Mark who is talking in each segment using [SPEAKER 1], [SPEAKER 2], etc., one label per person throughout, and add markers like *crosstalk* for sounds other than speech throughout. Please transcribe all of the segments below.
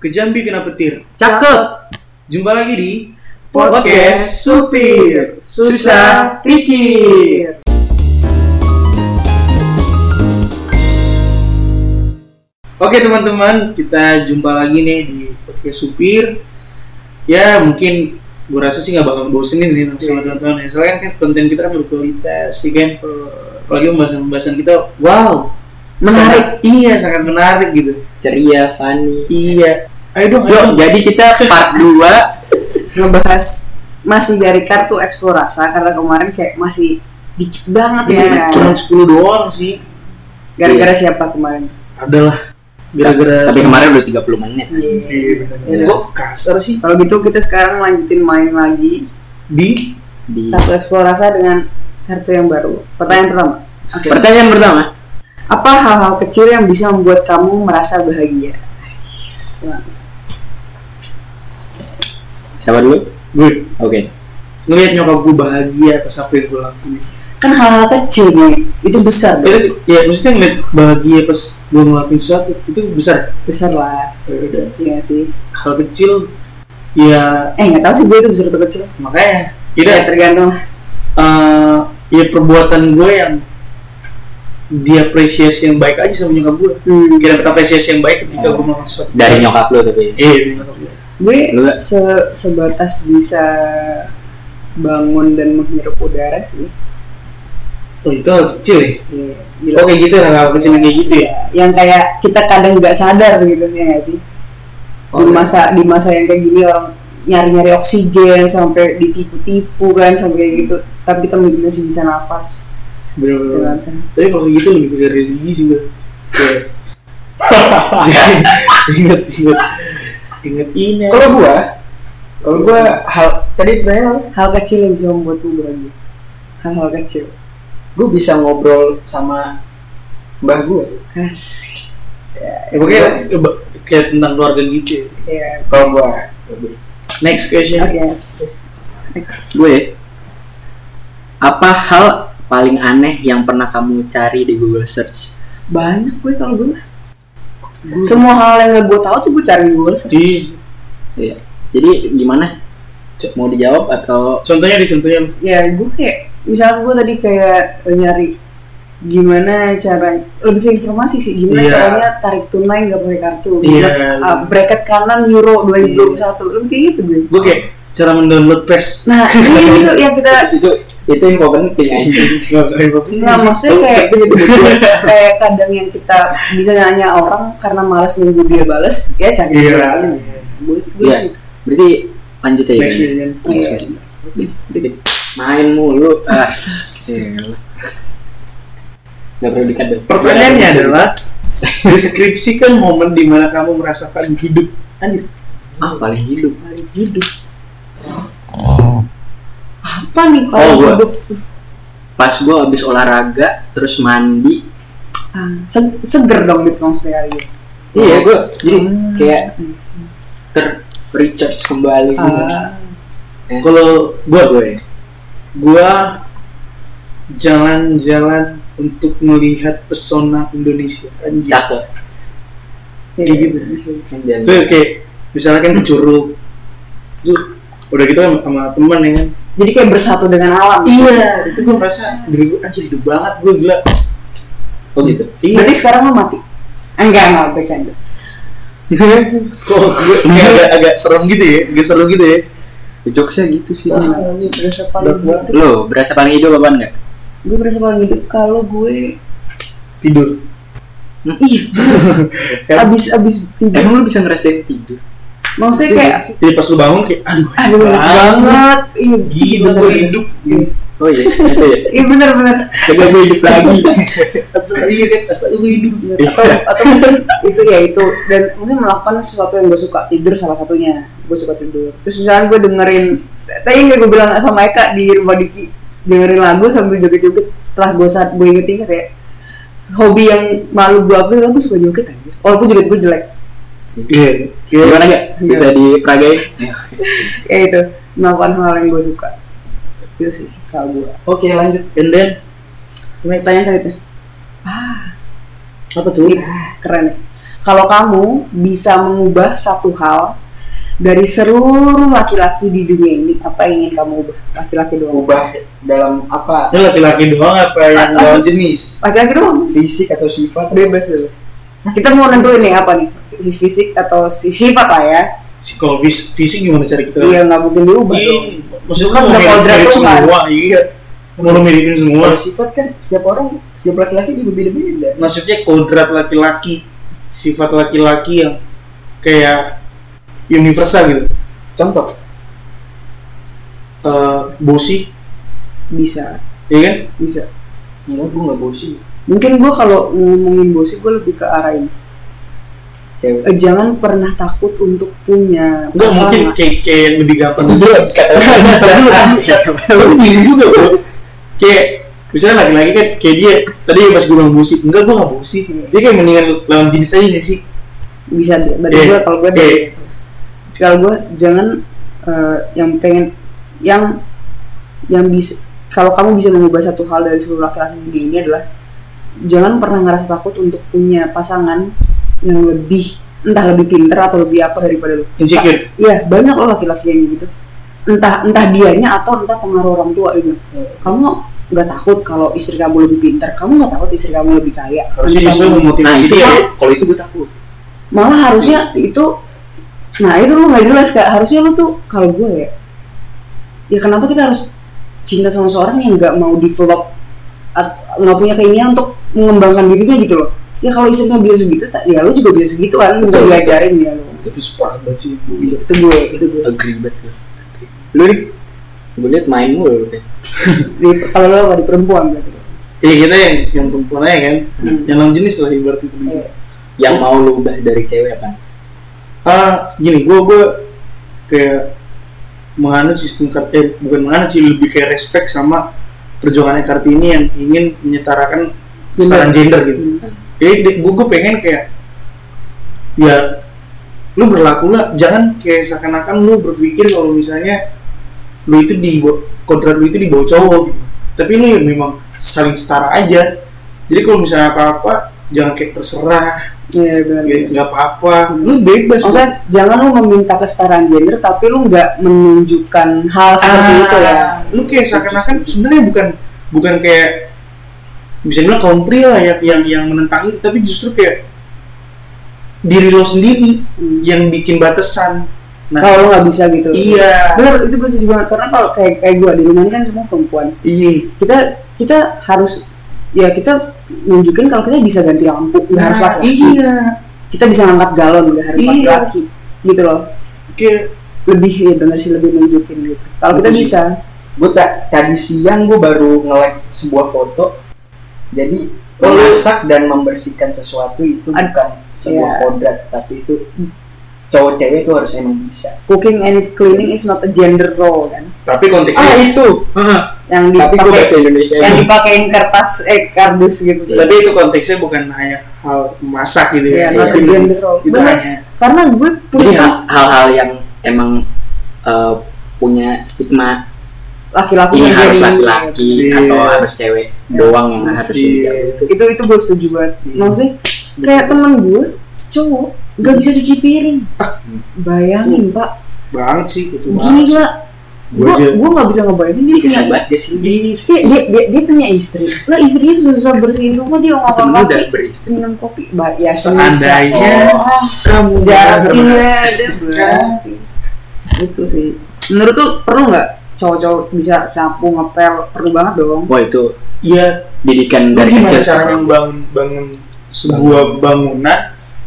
[SPEAKER 1] ke Jambi kena petir.
[SPEAKER 2] Cakep.
[SPEAKER 1] Jumpa lagi di
[SPEAKER 2] Podcast Supir Susah Pikir.
[SPEAKER 1] Oke teman-teman, kita jumpa lagi nih di podcast Supir. Ya mungkin gue rasa sih nggak bakal bosenin nih sama
[SPEAKER 2] Iya.
[SPEAKER 1] teman-teman. ya. Soalnya kan konten kita kan berkualitas, sih kan. Apalagi pembahasan-pembahasan kita, wow,
[SPEAKER 2] Menarik.
[SPEAKER 1] Sangat- iya, sangat menarik gitu.
[SPEAKER 2] Ceria, funny.
[SPEAKER 1] Iya. Ayo dong, ayo
[SPEAKER 2] Yuk,
[SPEAKER 1] dong.
[SPEAKER 2] jadi kita part 2
[SPEAKER 3] ngebahas masih dari kartu eksplorasa karena kemarin kayak masih dikit banget Iya. ya
[SPEAKER 1] Iya, cuma 10 doang sih.
[SPEAKER 3] gara-gara siapa kemarin
[SPEAKER 1] Adalah gara-gara
[SPEAKER 2] Tapi kemarin udah 30 menit
[SPEAKER 1] Iya,
[SPEAKER 3] Iya.
[SPEAKER 1] Kok kasar sih
[SPEAKER 3] kalau gitu kita sekarang lanjutin main lagi
[SPEAKER 1] di
[SPEAKER 2] di
[SPEAKER 3] kartu eksplorasa dengan kartu yang baru pertanyaan pertama oke
[SPEAKER 2] Pertanyaan pertama
[SPEAKER 3] apa hal-hal kecil yang bisa membuat kamu merasa bahagia Yes, mantap.
[SPEAKER 2] Siapa dulu?
[SPEAKER 1] gue
[SPEAKER 2] Oke
[SPEAKER 1] ngelihat nyokap gue bahagia atas apa yang gue lakuin.
[SPEAKER 3] kan hal-hal kecil nih itu besar dong.
[SPEAKER 1] Itu ya maksudnya ngeliat bahagia pas gue ngelakuin sesuatu itu besar.
[SPEAKER 3] besar lah
[SPEAKER 1] Ya udah.
[SPEAKER 3] iya sih
[SPEAKER 1] Hal kecil ya
[SPEAKER 3] eh nggak tahu sih gue itu besar atau kecil
[SPEAKER 1] makanya
[SPEAKER 3] ya
[SPEAKER 1] tidak
[SPEAKER 3] tergantung lah.
[SPEAKER 1] eh ya perbuatan gue yang diapresiasi yang baik aja sama nyokap gue.
[SPEAKER 3] Hmm.
[SPEAKER 1] Gue dapet apresiasi yang baik ketika gue melakukan sesuatu.
[SPEAKER 2] Dari nyokap lu tapi
[SPEAKER 1] Iya, dari Oh. nyokap gue.
[SPEAKER 3] gue
[SPEAKER 2] Lu nggak?
[SPEAKER 3] se- sebatas bisa bangun dan menghirup udara sih
[SPEAKER 1] Oh, itu hal kecil ya.
[SPEAKER 3] Iya,
[SPEAKER 1] Oh, kayak gitu hal-hal kecil kayak gitu ya.
[SPEAKER 3] Iya, yang kayak kita kadang nggak sadar gitu ya nggak sih di masa di masa yang kayak gini orang nyari-nyari oksigen sampai ditipu-tipu kan sampai kayak gitu tapi kita masih bisa nafas
[SPEAKER 1] Bener-bener.
[SPEAKER 3] dengan santai
[SPEAKER 1] Tapi kalau kayak gitu lebih ke religi sih gue. Kayak-
[SPEAKER 3] Iya.
[SPEAKER 1] *laughs* ingat ingat ingat ini.
[SPEAKER 4] Kalau gua, kalau gua hal tadi pertanyaan apa?
[SPEAKER 3] hal kecil yang bisa membuatmu bahagia hal-hal kecil
[SPEAKER 4] gua bisa ngobrol sama mbah gua.
[SPEAKER 3] kasih
[SPEAKER 1] Ya, pokoknya eh, ba- kayak tentang keluarga gitu. ya.
[SPEAKER 3] ya
[SPEAKER 4] Kalau gua
[SPEAKER 1] Next question.
[SPEAKER 3] oke next
[SPEAKER 2] Gue ya. Apa hal paling aneh yang pernah kamu cari di Google Search?
[SPEAKER 3] banyak gue kalau gue mah semua hal yang gak gue tahu tuh gue cari di Google search.
[SPEAKER 1] Di,
[SPEAKER 2] Iya Jadi gimana? C- Mau dijawab atau
[SPEAKER 1] contohnya di contohnya
[SPEAKER 3] ya gue kayak misalnya gue tadi kayak nyari gimana cara lebih ke informasi sih gimana
[SPEAKER 1] Iya.
[SPEAKER 3] caranya tarik tunai nggak pakai kartu
[SPEAKER 1] Iya.
[SPEAKER 3] Gimana, uh, bracket kanan euro 2021 lebih kayak gitu gue
[SPEAKER 1] gue kayak cara mendownload pes.
[SPEAKER 3] nah *laughs* ini itu yang kita
[SPEAKER 2] itu itu info penting anjing.
[SPEAKER 1] Nggak kayak apa pun. *laughs*
[SPEAKER 3] nah maksudnya kayak
[SPEAKER 1] Iya.
[SPEAKER 3] gitu, kayak kadang yang kita bisa nanya orang karena malas nunggu dia bales ya cari
[SPEAKER 1] Iya.
[SPEAKER 3] dia aja. gue gue
[SPEAKER 2] Iya.
[SPEAKER 3] di situ
[SPEAKER 2] Berarti lanjut aja
[SPEAKER 1] Next question.
[SPEAKER 2] Next question. Main mulu ah. Gila. Gak perlu dikat dong
[SPEAKER 1] Pertanyaannya
[SPEAKER 3] *laughs*
[SPEAKER 1] adalah deskripsikan momen di mana kamu merasakan hidup. Anjir,
[SPEAKER 2] Ah paling hidup
[SPEAKER 3] Paling hidup
[SPEAKER 1] Oh.
[SPEAKER 3] apa nih paling
[SPEAKER 2] Oh, gua.
[SPEAKER 3] hidup
[SPEAKER 2] Pas gue habis olahraga Terus mandi
[SPEAKER 3] Ah, se- seger dong gitu maksudnya kali ini.
[SPEAKER 2] Iya gue Jadi
[SPEAKER 3] Hmm.
[SPEAKER 2] kayak ter recharge kembali
[SPEAKER 1] iya.
[SPEAKER 2] gitu.
[SPEAKER 3] Ah,
[SPEAKER 1] kalau gue
[SPEAKER 2] Gue
[SPEAKER 1] gua jalan-jalan untuk melihat pesona Indonesia anjir
[SPEAKER 2] Cakep
[SPEAKER 3] iya,
[SPEAKER 1] Kayak gitu.
[SPEAKER 3] bisa, bisa.
[SPEAKER 2] Yang jalan.
[SPEAKER 1] itu kayak misalnya kan ke Curug itu udah gitu kan sama teman ya kan
[SPEAKER 3] Jadi kayak bersatu dengan alam.
[SPEAKER 1] iya itu gua merasa diri gua anjir hidup banget gua gila
[SPEAKER 2] Oh gitu
[SPEAKER 1] iya
[SPEAKER 3] Berarti sekarang lo mati. Enggak, enggak bercanda.
[SPEAKER 1] kok gua kayak agak, agak serem gitu ya agak serem gitu ya
[SPEAKER 2] Jokesnya gitu sih
[SPEAKER 1] Ah.
[SPEAKER 3] Gue berasa paling
[SPEAKER 1] Udah,
[SPEAKER 3] hidup.
[SPEAKER 2] Lo berasa paling hidup apa enggak?
[SPEAKER 3] Gue berasa paling hidup kalau gue
[SPEAKER 1] tidur
[SPEAKER 3] ih
[SPEAKER 1] Kan?
[SPEAKER 3] abis abis tidur.
[SPEAKER 2] Emang lu bisa ngerasain tidur?
[SPEAKER 3] Maksudnya
[SPEAKER 1] Iya.
[SPEAKER 3] kayak
[SPEAKER 1] jadi pas lu bangun kayak aduh
[SPEAKER 3] aduh
[SPEAKER 1] hidup
[SPEAKER 3] enak banget. Iya,
[SPEAKER 1] gila
[SPEAKER 3] bener,
[SPEAKER 1] gua
[SPEAKER 3] bener.
[SPEAKER 1] hidup
[SPEAKER 3] Iya.
[SPEAKER 2] Oh iya Itu ya
[SPEAKER 3] Iya benar benar.
[SPEAKER 2] Setelah gue hidup lagi
[SPEAKER 1] astaga iya kan astaga gua hidup
[SPEAKER 3] Atau atau mungkin itu ya itu dan maksudnya melakukan sesuatu yang gue suka tidur salah satunya. Gue suka tidur. Terus misalnya gue dengerin tadi yang gue bilang sama Eka di rumah Diki dengerin lagu sambil joget-joget setelah gue saat gue inget-inget ya hobi yang malu gue aku gue suka joget aja walaupun joget gue jelek
[SPEAKER 1] iya kayak
[SPEAKER 2] Gimana enggak? Bisa diperagain?
[SPEAKER 3] ya itu melakukan hal yang gue suka itu sih kalau gue
[SPEAKER 4] Oke, lanjut.
[SPEAKER 1] and then next.
[SPEAKER 4] Ah.
[SPEAKER 3] tanya saya tuh
[SPEAKER 1] apa tuh
[SPEAKER 3] keren ya kalau kamu bisa mengubah satu hal dari seluruh laki-laki di dunia ini apa yang ingin kamu ubah laki-laki doang
[SPEAKER 4] ubah dalam apa
[SPEAKER 1] Ini laki-laki doang apa yang lawan jenis?
[SPEAKER 3] laki-laki doang
[SPEAKER 4] fisik atau sifat
[SPEAKER 3] bebas bebas
[SPEAKER 4] Nah.
[SPEAKER 3] kita mau nentuin nih apa nih Fis- fisik atau si- sifat lah ya
[SPEAKER 1] Si kalau fis- fisik gimana cari kita?
[SPEAKER 3] iya nggak mungkin diubah
[SPEAKER 1] Iya,
[SPEAKER 3] dong
[SPEAKER 1] maksudnya kan
[SPEAKER 3] Udah
[SPEAKER 1] mau mirip,
[SPEAKER 3] kodrat
[SPEAKER 1] mirip
[SPEAKER 3] Tuhan.
[SPEAKER 1] semua, iya. Mau miripin semua.
[SPEAKER 4] kalau sifat kan setiap orang setiap laki-laki juga beda-beda
[SPEAKER 1] Maksudnya kodrat laki-laki, sifat laki-laki yang kayak universal gitu.
[SPEAKER 4] contoh
[SPEAKER 1] Eh, bosi,
[SPEAKER 3] bisa
[SPEAKER 1] ya kan?
[SPEAKER 3] bisa
[SPEAKER 4] enggak gue nggak bosin
[SPEAKER 3] mungkin gue kalau ngomongin bosip gue lebih ke arah ini
[SPEAKER 4] cewek
[SPEAKER 3] Eh, jangan pernah takut untuk punya
[SPEAKER 1] Enggak
[SPEAKER 3] pasangan.
[SPEAKER 1] mungkin kayak, kayak lebih gampang. Iya,
[SPEAKER 4] itu dia kata
[SPEAKER 1] Soalnya gini kan juga bro. Kayak misalnya laki-laki kan kayak dia tadi pas gue bilang bosi, enggak gue gak bosi. Dia kayak mendingan lawan jenis aja gak sih?
[SPEAKER 3] bisa deh. berarti
[SPEAKER 1] Eh,
[SPEAKER 3] gue kalau gue
[SPEAKER 1] eh.
[SPEAKER 3] kalau gue jangan eh, yang pengen yang yang bisa kalau kamu bisa mengubah satu hal dari seluruh laki-laki di dunia ini adalah jangan pernah ngerasa takut untuk punya pasangan yang lebih entah lebih pinter atau lebih apa daripada lu
[SPEAKER 1] Insecure.
[SPEAKER 3] Iya banyak loh laki-laki yang gitu. Entah entah dianya atau entah pengaruh orang tua gitu.
[SPEAKER 1] Hmm.
[SPEAKER 3] Kamu nggak takut kalau istri kamu lebih pintar, kamu nggak takut istri kamu lebih kaya.
[SPEAKER 1] Harusnya
[SPEAKER 3] Entah
[SPEAKER 1] justru
[SPEAKER 3] kamu-
[SPEAKER 2] nah
[SPEAKER 1] memotivasi
[SPEAKER 2] itu
[SPEAKER 1] dia.
[SPEAKER 2] ya kalau itu gue takut
[SPEAKER 3] malah harusnya itu, nah itu lu nggak jelas kak. Harusnya lu tuh kalau gue ya, ya kenapa kita harus cinta sama seorang yang nggak mau develop at- nggak punya keinginan untuk mengembangkan dirinya gitu loh. Ya kalau istrinya biasa gitu, tak- ya lu juga biasa gitu kan, nggak
[SPEAKER 4] Betul.
[SPEAKER 3] diajarin ya lu.
[SPEAKER 4] itu sepakat banget sih
[SPEAKER 3] Itu gue, itu gue.
[SPEAKER 2] agree banget gue lu nih gue liat main mulu lu kayak.
[SPEAKER 3] Di- Kalau lu apa di perempuan berarti.
[SPEAKER 1] Iya kita yang yang perempuan aja kan,
[SPEAKER 3] Hmm.
[SPEAKER 1] yang non jenis lah ibarat itu.
[SPEAKER 3] Iya.
[SPEAKER 2] yang mau lu ubah dari cewek apa
[SPEAKER 1] Ah gini, gue gue kayak menganut sistem kartu, eh, bukan menganut sih lebih kayak respect sama perjuangannya kartini yang ingin menyetarakan kesetaraan gender gitu. Jadi gue gue pengen kayak ya lu berlaku lah, jangan kayak seakan-akan lu berpikir kalau misalnya lu itu di bawah- kodrat lu itu di bawah cowok gitu. Tapi lu ya memang saling setara aja. Jadi kalau misalnya apa-apa jangan kayak terserah
[SPEAKER 3] Iya benar.
[SPEAKER 1] Ya, nggak apa-apa lu bebas
[SPEAKER 3] Maksudnya jangan lu meminta kesetaraan gender tapi lu nggak menunjukkan hal seperti itu ya.
[SPEAKER 1] Ah, lu kayak seakan-akan sebenarnya bukan bukan kayak bisa bilang kaum pria lah yang, yang yang menentang itu tapi justru kayak diri lo sendiri
[SPEAKER 3] Hmm.
[SPEAKER 1] yang bikin batasan nah
[SPEAKER 3] Kalau lu nggak bisa gitu.
[SPEAKER 1] iya
[SPEAKER 3] Benar itu gue setuju banget karena kalau kayak kayak gue di rumah ini kan semua perempuan.
[SPEAKER 1] iya
[SPEAKER 3] Kita kita harus ya kita nunjukin kalau kita bisa ganti lampu nggak
[SPEAKER 1] nah,
[SPEAKER 3] harus laki.
[SPEAKER 1] iya
[SPEAKER 3] Kita bisa ngangkat galon nggak harus
[SPEAKER 1] Iya.
[SPEAKER 3] laki-laki gitu loh.
[SPEAKER 1] kayak
[SPEAKER 3] Lebih ya benar sih lebih nunjukin gitu. Kalau kita
[SPEAKER 4] Betul sih.
[SPEAKER 3] bisa
[SPEAKER 4] gue ta- tadi siang gue baru nge-like sebuah foto jadi
[SPEAKER 1] Oh, lu-
[SPEAKER 4] memasak dan membersihkan sesuatu itu
[SPEAKER 3] Ad-
[SPEAKER 4] bukan sebuah
[SPEAKER 3] Iya.
[SPEAKER 4] kodrat tapi itu cowok cewek itu harus emang bisa
[SPEAKER 3] cooking and cleaning is not a gender role kan.
[SPEAKER 1] tapi konteksnya
[SPEAKER 4] itu
[SPEAKER 3] Yang
[SPEAKER 4] tapi gue bahasa
[SPEAKER 3] dipakai
[SPEAKER 4] Indonesia
[SPEAKER 3] yang dipakein kertas eh kardus gitu.
[SPEAKER 1] tapi itu konteksnya bukan hanya hal masak gitu ya
[SPEAKER 3] Iya, not a
[SPEAKER 1] Tapi
[SPEAKER 3] gender role.
[SPEAKER 1] itu
[SPEAKER 3] Bener.
[SPEAKER 1] hanya
[SPEAKER 3] karena gue
[SPEAKER 2] jadi
[SPEAKER 3] punya
[SPEAKER 2] hal- hal-hal yang emang eh, punya stigma
[SPEAKER 3] laki-laki
[SPEAKER 2] ini
[SPEAKER 3] yang
[SPEAKER 2] harus
[SPEAKER 3] jadi-
[SPEAKER 2] laki-laki
[SPEAKER 1] Iya.
[SPEAKER 2] atau harus cewek doang yang harus
[SPEAKER 1] Iya.
[SPEAKER 2] dijauh
[SPEAKER 3] itu itu gue setuju banget
[SPEAKER 2] Hmm.
[SPEAKER 1] Iya.
[SPEAKER 3] maksudnya kayak temen gue cowok nggak
[SPEAKER 2] Hmm.
[SPEAKER 3] bisa cuci piring
[SPEAKER 2] Ah.
[SPEAKER 3] bayangin pak
[SPEAKER 1] banget sih itu banget.
[SPEAKER 3] gila
[SPEAKER 1] Gue
[SPEAKER 3] gue
[SPEAKER 1] aja.
[SPEAKER 3] gue nggak bisa ngebayangin dia punya
[SPEAKER 2] Kesel banget gak sih
[SPEAKER 1] Iya.
[SPEAKER 3] dia, dia, dia, dia punya istri lah istrinya susah-susah bersihin rumah dia
[SPEAKER 2] temen lu
[SPEAKER 3] ngomong
[SPEAKER 2] udah
[SPEAKER 3] kaki
[SPEAKER 2] beristri
[SPEAKER 3] minum kopi bah ya
[SPEAKER 1] Seandainya
[SPEAKER 3] oh, ah,
[SPEAKER 1] kamu
[SPEAKER 3] jarak iya
[SPEAKER 1] berhasil.
[SPEAKER 3] dia berarti. itu sih menurut tuh perlu nggak cowok-cowok bisa sapu ngepel perlu banget dong
[SPEAKER 2] wah itu
[SPEAKER 1] Iya, lu
[SPEAKER 2] didikan dari
[SPEAKER 1] gimana
[SPEAKER 2] kecil
[SPEAKER 1] caranya bangun bangun sebuah bangunan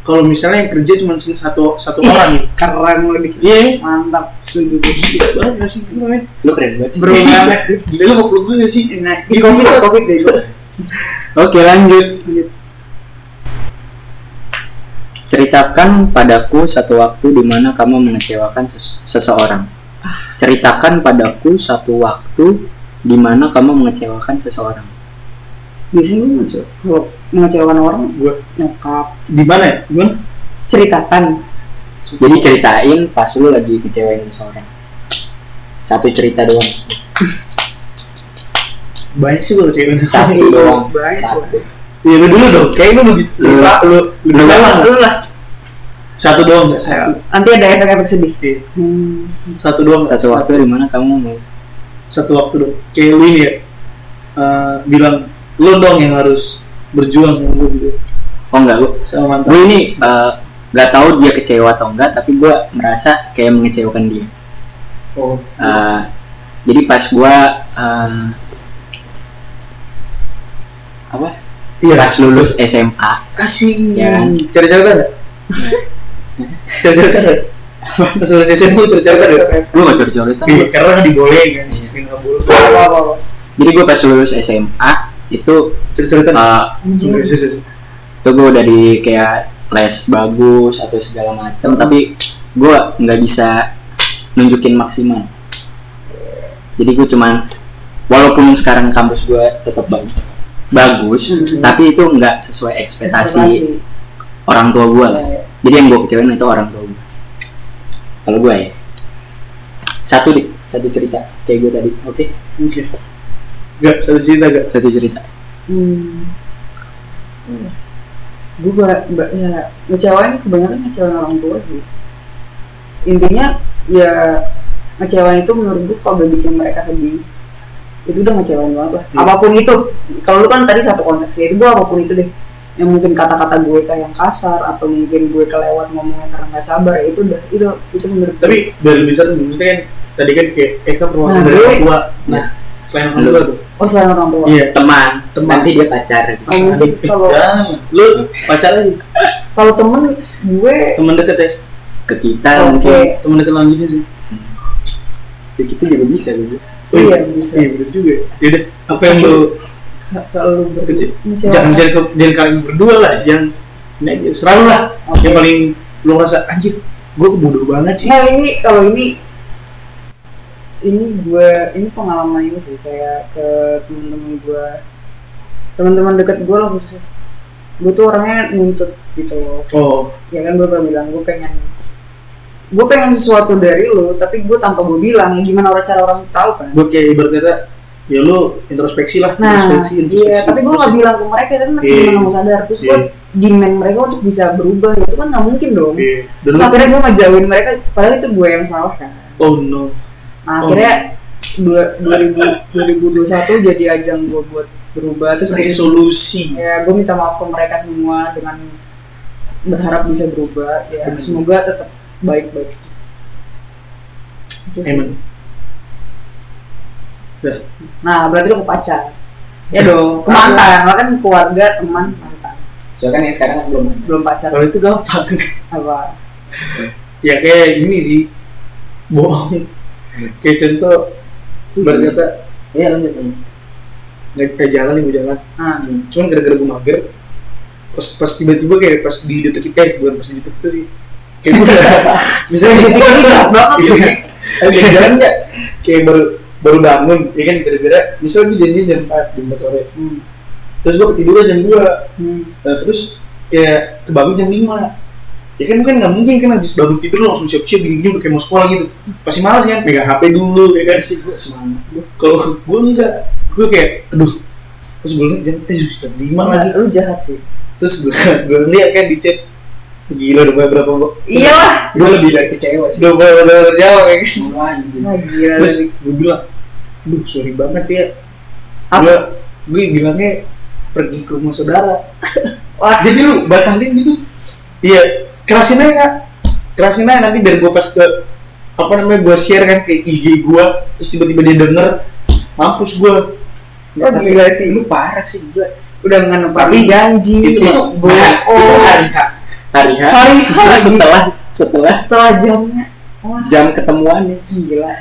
[SPEAKER 1] kalau misalnya yang kerja cuma sing- satu satu orang nih.
[SPEAKER 3] keren lebih
[SPEAKER 1] Iya.
[SPEAKER 3] mantap setuju gue
[SPEAKER 1] Gila banget gak sih Gila, men.
[SPEAKER 2] lu keren banget sih
[SPEAKER 3] Bro banget.
[SPEAKER 1] Iya, Gila lu mau peluk gue gak sih?
[SPEAKER 3] Nah,
[SPEAKER 2] Iya,
[SPEAKER 3] di covid covid deh gue.
[SPEAKER 2] oke lanjut
[SPEAKER 3] Lanjut.
[SPEAKER 2] ceritakan padaku satu waktu di mana kamu mengecewakan ses- seseorang
[SPEAKER 3] Ah.
[SPEAKER 2] ceritakan padaku satu waktu di mana kamu mengecewakan seseorang
[SPEAKER 3] biasanya gue ngece kalau mengecewakan orang
[SPEAKER 1] Gue
[SPEAKER 3] nyokap
[SPEAKER 1] di mana ya? Gimana?
[SPEAKER 3] ceritakan
[SPEAKER 2] jadi ceritain pas lu lagi kecewain seseorang satu cerita doang
[SPEAKER 3] *laughs*
[SPEAKER 1] Banyak sih gue kecewain
[SPEAKER 2] satu doang
[SPEAKER 3] Baik,
[SPEAKER 2] satu
[SPEAKER 1] Iya lu dulu dong. Kayak lu mau di- lu
[SPEAKER 2] Iya.
[SPEAKER 1] lu Lebih
[SPEAKER 2] Lu-
[SPEAKER 1] dalam.
[SPEAKER 3] Lu lah.
[SPEAKER 1] Satu doang nggak satu.
[SPEAKER 3] Nanti ada efek-efek sedih.
[SPEAKER 1] Iya.
[SPEAKER 3] Hmm.
[SPEAKER 1] Satu doang nggak?
[SPEAKER 2] Satu waktu di mana kamu mau
[SPEAKER 1] Satu waktu doang. Kayak lu ini ya. eh, bilang lu dong yang harus berjuang sama gue gitu
[SPEAKER 2] Oh enggak, gue
[SPEAKER 1] sama
[SPEAKER 2] gue
[SPEAKER 1] mantan
[SPEAKER 2] ini eh, nggak tahu dia kecewa atau enggak, tapi gue merasa kayak mengecewakan dia.
[SPEAKER 1] oh
[SPEAKER 2] Eh, jadi pas gue eh, apa?
[SPEAKER 1] iya
[SPEAKER 2] Pas lulus SMA,
[SPEAKER 1] asik
[SPEAKER 2] Ya kan?
[SPEAKER 1] cari cerita nggak cari cerita nggak ya? pas lulus SMA lu cari cerita nggak
[SPEAKER 2] gue gak curi-curitan.
[SPEAKER 1] Iya, karena nggak dibolehin kan
[SPEAKER 2] Iya.
[SPEAKER 1] Ini nggak boleh
[SPEAKER 4] apa apa apa
[SPEAKER 2] Jadi gue pas lulus SMA itu
[SPEAKER 1] cari cerita nggak
[SPEAKER 2] eh,
[SPEAKER 1] Oke, sih, sih, sih.
[SPEAKER 2] itu gue udah di kayak les bagus atau segala macam
[SPEAKER 1] Iya.
[SPEAKER 2] tapi gue nggak bisa nunjukin maksimal jadi gue cuman walaupun sekarang kampus gue tetap bagus bagus
[SPEAKER 1] Mm-hmm.
[SPEAKER 3] Hmm.
[SPEAKER 2] tapi itu nggak sesuai ekspektasi orang tua gue lah jadi yang gue kecewain itu orang tua gue kalau gue ya satu dik satu cerita kayak gue tadi oke
[SPEAKER 1] Oke. Gak, satu cerita gak?
[SPEAKER 2] satu cerita
[SPEAKER 3] Hmm. Gue ba- ba- ya ngecewain kebanyakan ngecewain orang tua sih. Intinya ya ngecewain itu menurut gue kalau udah bikin mereka sedih itu udah ngecewain banget lah.
[SPEAKER 1] Hmm.
[SPEAKER 3] Apapun itu, kalau lu kan tadi satu konteks ya, itu gue apapun itu deh. Yang mungkin kata-kata gue kayak yang kasar atau mungkin gue kelewat ngomongnya karena nggak sabar ya itu udah itu itu menurut gue.
[SPEAKER 1] Tapi dari bisa tuh, maksudnya kan tadi kan kayak Eka perwakilan
[SPEAKER 3] Nah,
[SPEAKER 1] dari
[SPEAKER 3] gue-
[SPEAKER 1] orang tua. Nah, selain orang
[SPEAKER 2] Lu.
[SPEAKER 1] tua tuh.
[SPEAKER 3] Oh selain orang tua.
[SPEAKER 1] Iya.
[SPEAKER 2] teman
[SPEAKER 1] Teman.
[SPEAKER 2] nanti dia pacar gitu.
[SPEAKER 3] Oh, mungkin
[SPEAKER 1] Eh,
[SPEAKER 3] kalau-
[SPEAKER 1] Jangan. Lu pacar lagi.
[SPEAKER 3] Kalau temen gue
[SPEAKER 1] Temen deket ya.
[SPEAKER 2] ke kita
[SPEAKER 3] Oke.
[SPEAKER 2] mungkin
[SPEAKER 1] Temen deket lanjutnya sih.
[SPEAKER 2] ya kita juga bisa gitu
[SPEAKER 3] iya
[SPEAKER 1] Wih,
[SPEAKER 3] bisa.
[SPEAKER 1] Iya bener juga. Yaudah, apa yang lu
[SPEAKER 3] Kalau lu
[SPEAKER 1] Kecil.
[SPEAKER 3] ngecewain-
[SPEAKER 1] jangan jangan ke- jangan kalian berdua lah yang ini aja serang lah
[SPEAKER 3] Oke.
[SPEAKER 1] yang paling lu ngerasa anjir gue bodoh banget sih
[SPEAKER 3] Nah ini kalau ini ini gue ini pengalaman ini sih kayak ke teman-teman gue teman-teman dekat gue lah khususnya gue tuh orangnya nuntut gitu loh
[SPEAKER 1] oh
[SPEAKER 3] ya kan gue pernah bilang gue pengen gue pengen sesuatu dari lo tapi gue tanpa gue bilang ya gimana orang cara orang tahu kan
[SPEAKER 1] gue kayak ibarat kata ya lu introspeksi lah
[SPEAKER 3] nah
[SPEAKER 1] introspeksi introspeksi
[SPEAKER 3] iya tapi gue nggak
[SPEAKER 1] introspeksi.
[SPEAKER 3] bilang ke mereka tapi mereka
[SPEAKER 1] Iya.
[SPEAKER 3] gimana mau sadar terus gue
[SPEAKER 1] Iya.
[SPEAKER 3] demand mereka untuk bisa berubah ya itu kan nggak mungkin dong
[SPEAKER 1] Iya. dan
[SPEAKER 3] terus
[SPEAKER 1] lu
[SPEAKER 3] akhirnya gue ngejauhin mereka padahal itu gue yang salah kan
[SPEAKER 1] oh no
[SPEAKER 3] Nah, akhirnya
[SPEAKER 1] Oh.
[SPEAKER 3] dua- 2000 2021 jadi ajang gue buat berubah terus gue,
[SPEAKER 1] resolusi
[SPEAKER 3] ya gue minta maaf ke mereka semua dengan berharap bisa berubah ya
[SPEAKER 1] Bener.
[SPEAKER 3] semoga tetap baik-baik terus. Itu sih.
[SPEAKER 1] emang Udah.
[SPEAKER 3] Nah, berarti lo ke pacar. Ya dong, ke mantan. Lo kan keluarga, teman, mantan.
[SPEAKER 2] soalnya kan yang sekarang kan belum
[SPEAKER 3] Belum pacar
[SPEAKER 1] kalau itu gampang *laughs*
[SPEAKER 3] apa?
[SPEAKER 1] ya kayak ini sih bohong kayak contoh ibarat kata
[SPEAKER 4] iya lanjut lanjut
[SPEAKER 1] nggak kita jalan nih mau jalan
[SPEAKER 3] Nah,
[SPEAKER 1] cuman gara-gara gue mager pas pas tiba-tiba kayak pas di detik itu eh, bukan pas di detik itu sih kayak gue *laughs* misalnya di detik itu
[SPEAKER 3] Banget sih.
[SPEAKER 1] Iya. kayak jalan nggak kayak baru baru bangun ya kan gara-gara misalnya gue janjian jam 4 jam 4 sore
[SPEAKER 3] hmm.
[SPEAKER 1] terus gue ketiduran jam 2
[SPEAKER 3] hmm.
[SPEAKER 1] nah, terus kayak kebangun jam 5 ya kan kan nggak mungkin kan habis bangun tidur lo langsung siap-siap gini-gini udah kayak mau sekolah gitu pasti malas kan megang HP dulu ya kan
[SPEAKER 4] sih gue semangat gue
[SPEAKER 1] kalau gue enggak gue kayak aduh terus gue liat jam eh jam 5 lagi
[SPEAKER 3] Nah, lu jahat sih.
[SPEAKER 1] terus gue *laughs* gue lihat kan di chat gila udah berapa kok
[SPEAKER 3] Iyalah.
[SPEAKER 4] lebih dari kecewa sih
[SPEAKER 1] udah berapa udah terjawab ya kan
[SPEAKER 4] Gua anjing
[SPEAKER 3] Nah, gila.
[SPEAKER 1] terus
[SPEAKER 3] Lagi.
[SPEAKER 1] gue bilang duh sorry banget ya
[SPEAKER 3] Apa?
[SPEAKER 1] gue gue bilangnya pergi ke rumah saudara
[SPEAKER 3] *laughs* Wah,
[SPEAKER 4] jadi lu batalin gitu
[SPEAKER 1] iya kerasin aja Kak. kerasin aja nanti biar gue pas ke apa namanya gue share kan ke IG gue terus tiba-tiba dia denger mampus gue
[SPEAKER 3] Oh, gila sih.
[SPEAKER 4] lu parah sih gila
[SPEAKER 3] udah menepati
[SPEAKER 1] Tapi
[SPEAKER 3] janji
[SPEAKER 1] itu
[SPEAKER 3] itu kan.
[SPEAKER 1] mah-
[SPEAKER 3] bohong
[SPEAKER 2] hari H
[SPEAKER 3] Hari H.
[SPEAKER 2] terus setelah setelah
[SPEAKER 3] setelah jamnya wah
[SPEAKER 2] jam ketemuannya
[SPEAKER 3] gila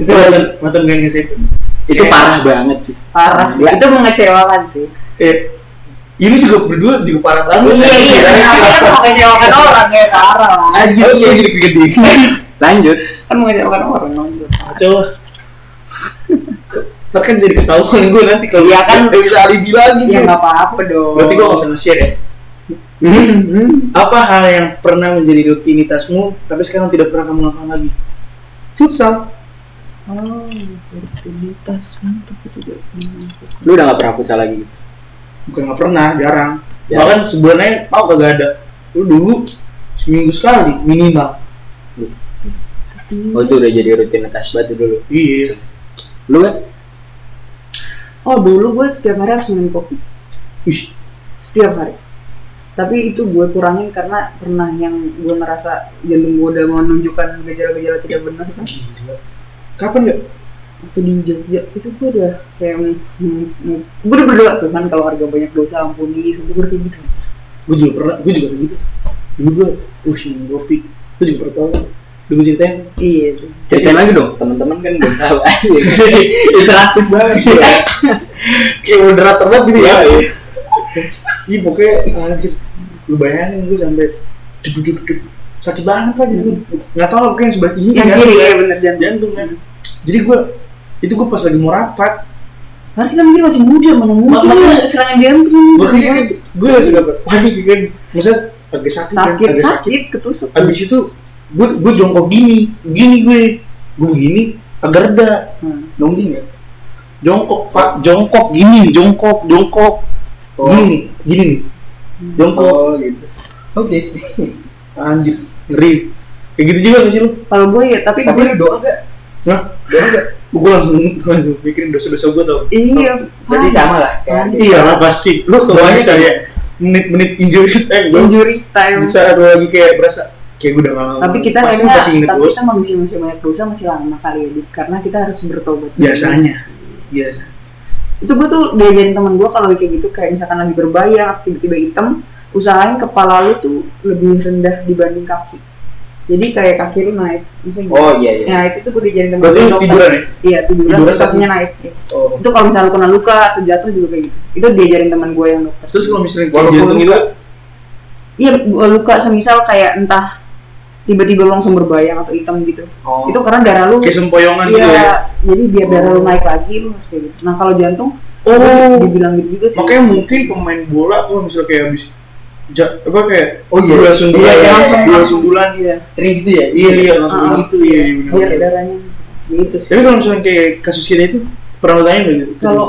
[SPEAKER 1] itu mantan mantan gue yang SMP
[SPEAKER 2] itu
[SPEAKER 1] Kayak-
[SPEAKER 2] parah banget sih
[SPEAKER 3] parah sih
[SPEAKER 2] Gila.
[SPEAKER 3] itu mengecewakan sih
[SPEAKER 1] eh ini juga berdua juga parah banget
[SPEAKER 3] iya iya tapi kan mengecewakan orang ya parah lah
[SPEAKER 1] Anjir, gue jadi kegedean
[SPEAKER 2] lanjut
[SPEAKER 3] kan mengecewakan orang dong
[SPEAKER 1] Kacau lah. Ntar kan jadi ketahuan gue nanti kalau
[SPEAKER 3] Iya kan.
[SPEAKER 1] nggak bisa alibi lagi
[SPEAKER 3] ya
[SPEAKER 1] gue.
[SPEAKER 3] nggak apa-apa dong
[SPEAKER 1] Berarti gue nggak usah nge-share ya. Apa hal yang pernah menjadi rutinitasmu tapi sekarang tidak pernah kamu lakukan lagi? Futsal.
[SPEAKER 3] oh rutinitas mantap itu gak pernah
[SPEAKER 2] lu udah gak pernah futsal lagi gitu?
[SPEAKER 1] Bukan nggak pernah, jarang.
[SPEAKER 4] Ya.
[SPEAKER 1] bahkan sebulannya mau kagak ada lu dulu seminggu sekali minimal
[SPEAKER 2] Oh itu udah jadi rutinitas banget dulu.
[SPEAKER 1] iya
[SPEAKER 2] Lu kan?
[SPEAKER 3] Oh dulu gue setiap hari harus minum kopi.
[SPEAKER 1] Ih.
[SPEAKER 3] Setiap hari. Tapi itu gue kurangin karena pernah yang gue merasa jantung gue udah menunjukkan gejala-gejala tidak benar kan.
[SPEAKER 1] Gila. kapan ya
[SPEAKER 3] Waktu di Jogja itu gue udah kayak mau, mau- mau- gue udah berdoa tuh kan kalau harga banyak dosa ampuni sampai gue udah kayak gitu.
[SPEAKER 1] gue juga pernah gue juga kayak gitu tuh. dulu gue uh minum kopi gue juga pernah tahu dulu gue ceritain
[SPEAKER 3] Iya. tuh.
[SPEAKER 2] Ceritain lagi dong, teman-teman kan belum tahu *laughs* Iya. aja.
[SPEAKER 1] interaktif banget ya. kayak moderator banget gitu ya
[SPEAKER 4] iya.
[SPEAKER 1] iya pokoknya anjir lu bayangin gue sampai duduk duduk duduk sakit banget pak jadi gue nggak tahu lah pokoknya yang sebelah ini
[SPEAKER 3] Yang
[SPEAKER 1] kan.
[SPEAKER 3] kiri ya bener jantung.
[SPEAKER 1] jantung kan jadi gue itu gue pas lagi mau rapat
[SPEAKER 3] Iya, Karena kita mikir masih muda mana mungkin
[SPEAKER 1] Makanya-
[SPEAKER 3] lu serangan jantung
[SPEAKER 1] gue
[SPEAKER 3] serangan-
[SPEAKER 1] gue masih gak panik kan maksudnya agak sakit kan
[SPEAKER 3] Iya, sakit
[SPEAKER 1] agak sakit
[SPEAKER 3] sakit ketusuk.
[SPEAKER 1] abis itu gue gue jongkok gini gini gue gue begini agak reda
[SPEAKER 3] Hmm.
[SPEAKER 4] Nonggi nggak?
[SPEAKER 1] jongkok pak jongkok gini jongkok jongkok
[SPEAKER 4] Oh.
[SPEAKER 1] gini nih gini nih
[SPEAKER 3] Hmm.
[SPEAKER 1] jongkok
[SPEAKER 4] Oh gitu. Oke.
[SPEAKER 1] anjir ngeri kayak gitu juga gak sih lu
[SPEAKER 3] Kalau gue ya tapi,
[SPEAKER 4] Tapi
[SPEAKER 3] gue
[SPEAKER 4] lu doa gak?
[SPEAKER 1] nah
[SPEAKER 4] Doa gak?
[SPEAKER 1] gue langsung langsung mikirin dosa-dosa gue tau
[SPEAKER 3] iya.
[SPEAKER 4] Jadi
[SPEAKER 3] parah.
[SPEAKER 4] sama lah kayak
[SPEAKER 1] iya lah pasti lu kalau
[SPEAKER 4] Doanya
[SPEAKER 1] bisa ya menit-menit injury time gue
[SPEAKER 3] injury time.
[SPEAKER 1] di saat lu lagi kayak berasa kayak gue udah gak lama
[SPEAKER 3] tapi kita
[SPEAKER 1] pasti lu
[SPEAKER 3] kayaknya
[SPEAKER 1] pasti inget
[SPEAKER 3] tapi
[SPEAKER 1] dosa
[SPEAKER 3] kita manusia manusia banyak dosa masih lama kali ya Dik. karena kita harus bertobat
[SPEAKER 1] biasanya Iya. biasa
[SPEAKER 3] itu gue tuh diajarin temen gue kalau kayak gitu kayak misalkan lagi berbayang tiba-tiba hitam usahain kepala lu tuh lebih rendah dibanding kaki jadi kayak kaki lu naik misalnya gitu.
[SPEAKER 4] Oh iya iya.
[SPEAKER 3] nah itu tuh gue diajarin temen
[SPEAKER 1] berarti
[SPEAKER 3] gua,
[SPEAKER 1] lu
[SPEAKER 3] dokter.
[SPEAKER 1] tiduran ya
[SPEAKER 3] iya tiduran,
[SPEAKER 1] Tiduran
[SPEAKER 3] terus kakinya naik ya.
[SPEAKER 1] oh
[SPEAKER 3] itu kalau misalnya lu kena luka atau jatuh juga kayak gitu itu diajarin temen gue yang dokter
[SPEAKER 1] terus kalau misalnya gitu, kayak
[SPEAKER 4] Walaupun
[SPEAKER 1] jantung itu
[SPEAKER 4] luka.
[SPEAKER 3] iya bu- luka semisal kayak entah tiba-tiba lu langsung berbayang atau hitam gitu
[SPEAKER 4] Oh.
[SPEAKER 3] itu karena darah lu
[SPEAKER 1] kayak sempoyongan gitu ya
[SPEAKER 3] Iya, jadi biar darah lu naik lagi lu harus kayak gitu. Nah kalau jantung,
[SPEAKER 1] Oh.
[SPEAKER 3] dibilang gitu juga sih.
[SPEAKER 1] makanya mungkin pemain bola kalau misalnya kayak abis ja, apa kayak
[SPEAKER 4] Oh, iya.
[SPEAKER 1] dua sundulan
[SPEAKER 4] Iya, iya,
[SPEAKER 1] langsung
[SPEAKER 4] iya.
[SPEAKER 1] dua sundulan
[SPEAKER 3] Iya,
[SPEAKER 4] sering gitu ya?
[SPEAKER 1] iya iya langsung
[SPEAKER 3] Ah,
[SPEAKER 1] begitu iya iya benar.
[SPEAKER 3] biar
[SPEAKER 4] Oke.
[SPEAKER 3] darahnya gitu sih.
[SPEAKER 1] tapi kalau misalnya kayak kasus kita itu pernah lo tanya nggak gitu
[SPEAKER 3] Kalau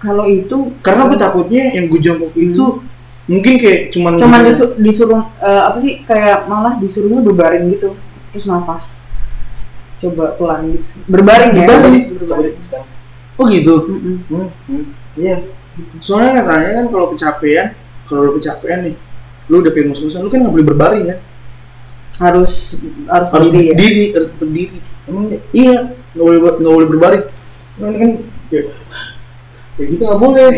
[SPEAKER 3] kalau itu
[SPEAKER 1] karena gue takutnya yang gue jongkok itu mungkin kayak cuman
[SPEAKER 3] cuman
[SPEAKER 1] gitu.
[SPEAKER 3] disu- disuruh eh, apa sih kayak malah disuruhnya berbaring gitu terus nafas coba pelan gitu sih. berbaring ya
[SPEAKER 1] Berbaring.
[SPEAKER 4] Coba deh
[SPEAKER 3] berbaring.
[SPEAKER 4] sekarang.
[SPEAKER 1] oh gitu
[SPEAKER 3] Mm-mm.
[SPEAKER 4] Hmm, hmm. Iya.
[SPEAKER 1] soalnya katanya kan kalau kecapean kalau lu kecapean nih lu udah kayak ngos-ngosan lu kan nggak boleh berbaring kan
[SPEAKER 3] harus harus
[SPEAKER 1] harus
[SPEAKER 3] berdiri ya
[SPEAKER 1] berdiri harus tetap diri
[SPEAKER 4] Emang iya?
[SPEAKER 1] iya nggak boleh nggak boleh berbaring Nah, ini kan kayak kayak gitu nggak boleh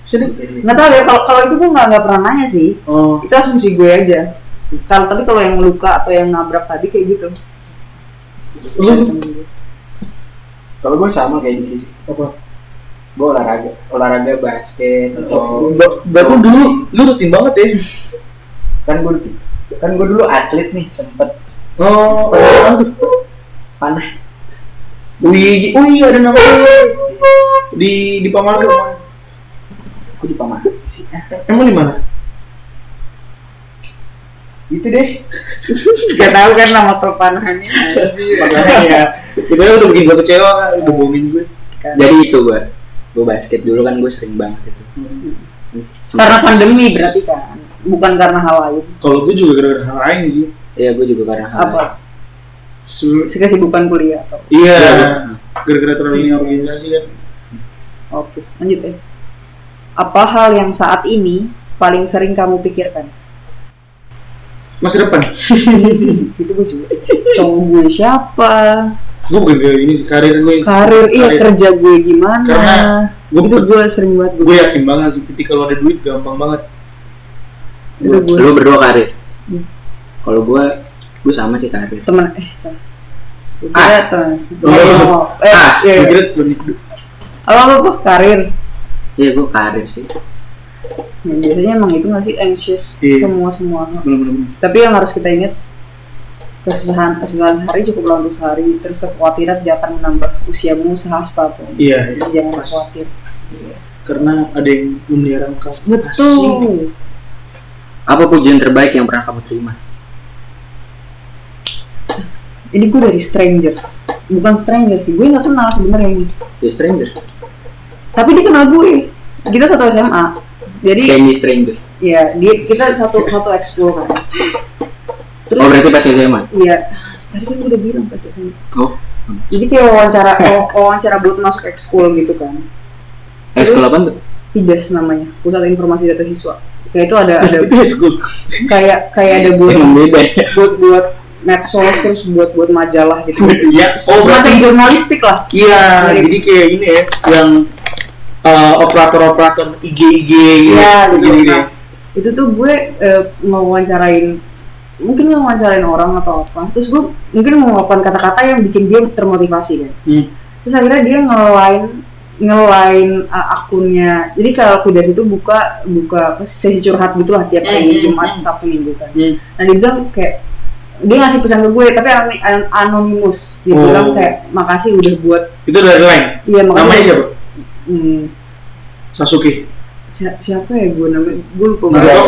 [SPEAKER 1] sedih
[SPEAKER 3] nggak tahu ya kalau kalau itu gue nggak nggak pernah nanya sih
[SPEAKER 1] oh
[SPEAKER 3] itu asumsi gue aja kalau tapi kalau yang luka atau yang nabrak tadi kayak gitu
[SPEAKER 1] lu
[SPEAKER 4] Kalau gue sama kayak gitu sih.
[SPEAKER 1] apa
[SPEAKER 4] Gue olahraga, olahraga basket atau
[SPEAKER 1] Ber- berarti lu dulu lu rutin banget ya
[SPEAKER 4] kan gue kan gue dulu atlet nih sempet
[SPEAKER 1] oh ada apaan tuh
[SPEAKER 4] panah
[SPEAKER 1] wih oh iya ada namanya di di pamarga
[SPEAKER 4] gue di paman sih Ah,
[SPEAKER 1] emang di mana
[SPEAKER 4] gitu deh
[SPEAKER 3] Gak tahu kan nama perpanahannya
[SPEAKER 1] makanya *laughs* itu aja udah bikin gue kecewa kan udah bohongin gue
[SPEAKER 2] Jadi itu gua. Gua basket dulu kan gua sering banget itu.
[SPEAKER 4] Hmm.
[SPEAKER 2] Sem-
[SPEAKER 3] Karena pandemi berarti kan Bukan karena hal lain
[SPEAKER 1] kalau gue juga gara-gara hal lain sih
[SPEAKER 2] Iya, gua juga karena hal
[SPEAKER 3] Apa?
[SPEAKER 1] Su-
[SPEAKER 3] Kesibukan kuliah atau
[SPEAKER 1] iya
[SPEAKER 2] Iya.
[SPEAKER 1] gara-gara terlalu ini organisasi kan
[SPEAKER 3] Oke lanjut ya Apa hal yang saat ini Paling sering kamu pikirkan?
[SPEAKER 1] masa depan
[SPEAKER 3] Itu gue juga Cowok gue siapa?
[SPEAKER 1] gue bukan kayak ini sih karir gue
[SPEAKER 3] Karir, iya kerja gue gimana?
[SPEAKER 1] Karena gue-
[SPEAKER 3] itu gue sering banget gue,
[SPEAKER 1] gue yakin banget sih ketika lo ada duit gampang banget
[SPEAKER 3] Itu
[SPEAKER 2] Lu-
[SPEAKER 3] gue
[SPEAKER 2] Lu berdua karir.
[SPEAKER 3] Hmm.
[SPEAKER 2] Kalau gua gua sama sih karir.
[SPEAKER 3] Temen Eh salah Gue kira temen
[SPEAKER 1] Ah. Oh.
[SPEAKER 3] Eh
[SPEAKER 2] Ah,
[SPEAKER 3] iya,
[SPEAKER 1] gue
[SPEAKER 3] iya.
[SPEAKER 1] kira banyak duit.
[SPEAKER 3] Apa apa apa? Karir
[SPEAKER 2] Iya, gua karir sih.
[SPEAKER 3] Nah, Biasanya emang itu gak sih anxious
[SPEAKER 1] Iya.
[SPEAKER 3] Semua-semua
[SPEAKER 1] Bener-bener.
[SPEAKER 3] tapi yang harus kita ingat kesusahan kesusahan sehari cukuplah untuk sehari terus kekhawatiran tidak akan menambah usiamu sehasta pun
[SPEAKER 1] iya iya.
[SPEAKER 3] jangan
[SPEAKER 1] Pas.
[SPEAKER 3] khawatir
[SPEAKER 1] karena ada yang memelihara engkau Asik.
[SPEAKER 3] betul
[SPEAKER 2] Apa pujian terbaik yang pernah kamu terima?
[SPEAKER 3] ini gue dari strangers bukan strangers sih gue nggak kenal
[SPEAKER 2] Ya,
[SPEAKER 3] sebenarnya ini
[SPEAKER 2] The Stranger.
[SPEAKER 3] tapi dia kenal gue kita satu SMA jadi
[SPEAKER 2] semi stranger
[SPEAKER 3] ya dia kita satu satu ekskul kan
[SPEAKER 2] oh
[SPEAKER 3] terus
[SPEAKER 2] berarti pas SMA
[SPEAKER 3] iya tadi kan gue udah bilang pas SMA
[SPEAKER 2] oh
[SPEAKER 3] jadi kayak wawancara waw- wawancara buat masuk ekskul gitu kan
[SPEAKER 2] eh,
[SPEAKER 3] Terus-
[SPEAKER 2] sekolah apa tuh
[SPEAKER 3] IDAS namanya pusat informasi data siswa kayak itu ada *laughs* ada
[SPEAKER 1] itu ya school
[SPEAKER 3] kayak kayak ada buat
[SPEAKER 2] emang beda ya
[SPEAKER 3] buat buat medsos terus buat buat majalah *laughs* gitu
[SPEAKER 1] ya oh
[SPEAKER 3] semacam
[SPEAKER 1] berarti
[SPEAKER 3] jurnalistik lah
[SPEAKER 1] iya
[SPEAKER 3] Dari-
[SPEAKER 1] jadi kayak ini ya yang eh, operator-operator IG IG
[SPEAKER 3] Iya, gitu.
[SPEAKER 1] gini
[SPEAKER 3] Nah, itu tuh gue eh, ngewawancarain mungkin ngewawancarain orang atau apa terus gue mungkin melakukan kata-kata yang bikin dia termotivasi kan
[SPEAKER 1] Hmm.
[SPEAKER 3] terus akhirnya dia ngelain ngelain uh, akunnya jadi kalau kudas itu buka buka apa, sesi curhat gitu lah tiap hari
[SPEAKER 1] Hmm, hmm,
[SPEAKER 3] Jumat
[SPEAKER 1] hmm.
[SPEAKER 3] Sabtu Minggu kan
[SPEAKER 1] Hmm.
[SPEAKER 3] nah dia bilang kayak dia ngasih pesan ke gue tapi anoni- an- anonimus dia
[SPEAKER 1] Oh.
[SPEAKER 3] bilang kayak makasih udah buat
[SPEAKER 1] itu dari lain
[SPEAKER 3] iya makasih
[SPEAKER 1] namanya siapa
[SPEAKER 3] Hmm,
[SPEAKER 1] Sasuke
[SPEAKER 3] si- siapa ya gue namanya gue lupa banget
[SPEAKER 1] Naruto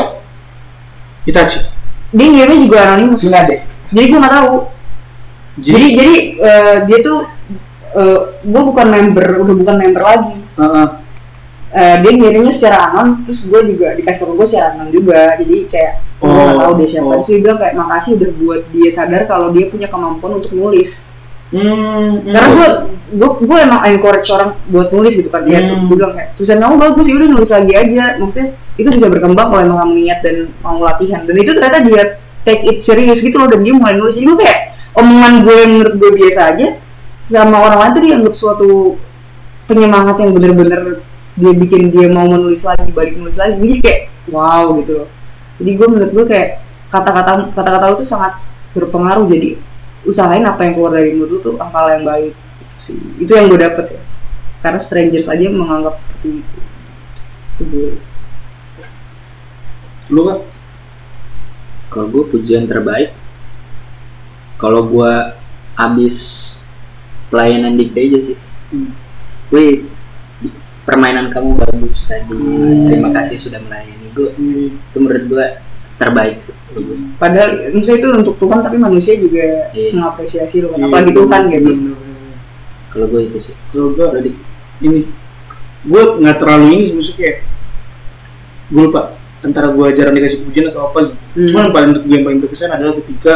[SPEAKER 1] Itachi
[SPEAKER 3] dia ngirimnya juga anonimus
[SPEAKER 4] Tsunade.
[SPEAKER 3] jadi gue nggak tahu jadi
[SPEAKER 1] jadi
[SPEAKER 3] jadi eh, dia tuh eh, gue bukan member udah bukan member lagi
[SPEAKER 1] Heeh.
[SPEAKER 3] Eh, dia ngirimnya secara anon terus gue juga dikasih tau ke gue secara anon juga jadi kayak gue nggak
[SPEAKER 1] Oh,
[SPEAKER 3] tahu dia siapa
[SPEAKER 1] oh.
[SPEAKER 3] terus dia bilang kayak makasih udah buat dia sadar kalau dia punya kemampuan untuk nulis
[SPEAKER 1] Hmm, hmm.
[SPEAKER 3] karena gue gue gue emang encourage orang buat nulis gitu kan dia tuh
[SPEAKER 1] Hmm.
[SPEAKER 3] gue bilang kayak tulisan kamu bagus ya udah nulis lagi aja maksudnya itu bisa berkembang kalau emang kamu niat dan mau latihan dan itu ternyata dia take it serius gitu loh dan dia mulai nulis jadi gue kayak omongan gue yang menurut gue biasa aja sama orang lain tuh dianggap suatu penyemangat yang bener-bener dia bikin dia mau menulis lagi balik nulis lagi jadi kayak wow gitu loh jadi gue menurut gue kayak kata-kata kata-kata lu tuh sangat berpengaruh jadi usahain apa yang keluar dari mulut lu tuh hal yang baik gitu sih itu yang gue dapet ya karena strangers aja menganggap seperti itu itu gue
[SPEAKER 1] lu kan
[SPEAKER 2] kalau gue pujian terbaik kalau gue abis pelayanan di gereja sih
[SPEAKER 1] Hmm.
[SPEAKER 2] wih permainan kamu bagus tadi
[SPEAKER 3] Hmm.
[SPEAKER 2] terima kasih sudah melayani gue itu menurut gue terbaik sih buat gua.
[SPEAKER 3] padahal maksudnya itu untuk Tuhan tapi manusia juga
[SPEAKER 2] Iya.
[SPEAKER 3] mengapresiasi lu kan
[SPEAKER 1] Iya,
[SPEAKER 3] apalagi
[SPEAKER 1] bener,
[SPEAKER 3] Tuhan gitu
[SPEAKER 1] bener, bener.
[SPEAKER 2] kalau gue itu sih
[SPEAKER 1] kalau gue ini gue nggak terlalu ini sih, maksudnya kayak gue lupa antara gue jarang dikasih pujian atau apa gitu
[SPEAKER 3] Hmm.
[SPEAKER 1] cuman yang paling menurut gue yang paling berkesan adalah ketika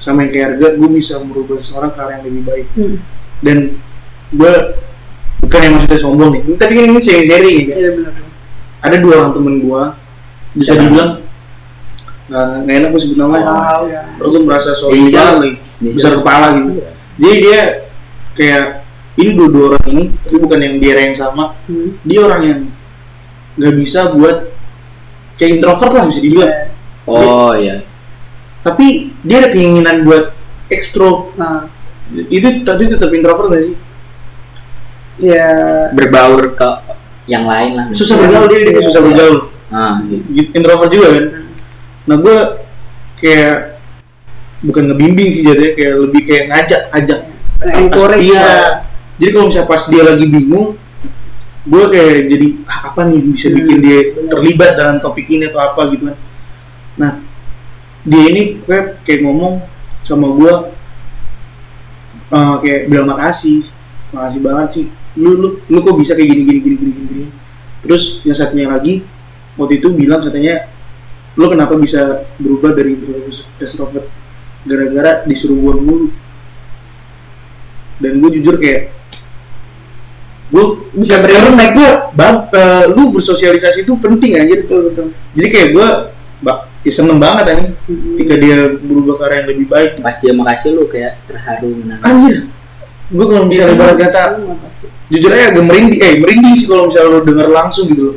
[SPEAKER 1] sama yang kayak harga gue bisa merubah seseorang ke arah yang lebih baik
[SPEAKER 3] Hmm.
[SPEAKER 1] dan gue bukan yang maksudnya sombong nih ini tadi kan ini sharing sharing ya
[SPEAKER 3] iya benar benar.
[SPEAKER 1] ada dua orang temen gue bisa
[SPEAKER 2] Siapa?
[SPEAKER 1] dibilang eh, nggak enak gue sebut namanya
[SPEAKER 3] Wow, ya.
[SPEAKER 1] terus gue merasa sombong
[SPEAKER 2] Inisial.
[SPEAKER 1] banget lagi besar kepala gitu jadi dia kayak ini dua dua orang ini tapi bukan yang daerah yang sama
[SPEAKER 3] Hmm.
[SPEAKER 1] dia orang yang nggak bisa buat kayak introvert lah bisa
[SPEAKER 3] Iya.
[SPEAKER 1] dibilang
[SPEAKER 2] oh iya
[SPEAKER 1] tapi dia ada keinginan buat ekstro
[SPEAKER 3] nah
[SPEAKER 1] itu tapi tetap introvert gak sih
[SPEAKER 3] ya
[SPEAKER 2] berbaur ke yang lain lah
[SPEAKER 1] susah bergaul dia, dia susah bergaul
[SPEAKER 2] ah, iya.
[SPEAKER 1] Gitu, introvert juga kan nah gue kayak bukan ngebimbing sih jadinya kayak lebih kayak ngajak ajak Pas-
[SPEAKER 3] Nah, encourage ya.
[SPEAKER 1] iya.
[SPEAKER 3] lah.
[SPEAKER 1] jadi kalau misalnya pas dia lagi bingung gue kayak jadi "Ah, apa nih yang bisa bikin
[SPEAKER 3] Hmm,
[SPEAKER 1] dia
[SPEAKER 3] bener.
[SPEAKER 1] terlibat dalam topik ini atau apa gitu kan nah dia ini kayak, kayak ngomong sama gue eh, kayak bilang makasih makasih banget sih lu lu lu kok bisa kayak gini gini gini gini gini, gini?" terus yang satunya lagi waktu itu bilang katanya lu kenapa bisa berubah dari introvert ke extrovert gara-gara disuruh gue mulu dan gue jujur kayak gue
[SPEAKER 3] Bisa
[SPEAKER 1] karena naik gue bang eh, lu bersosialisasi itu penting anjir
[SPEAKER 3] betul betul
[SPEAKER 1] jadi kayak gue mbak ya seneng banget anjir
[SPEAKER 3] Hmm.
[SPEAKER 1] ketika dia berubah ke arah yang lebih baik
[SPEAKER 2] pas dia makasih lu kayak terharu menangis
[SPEAKER 1] anjir Ya gue kalau misalnya
[SPEAKER 3] Seneng.
[SPEAKER 1] ibarat kata
[SPEAKER 3] Seneng lah Iya, pasti.
[SPEAKER 1] jujur aja agak merindih eh merindih sih kalau misalnya lo denger langsung gitu loh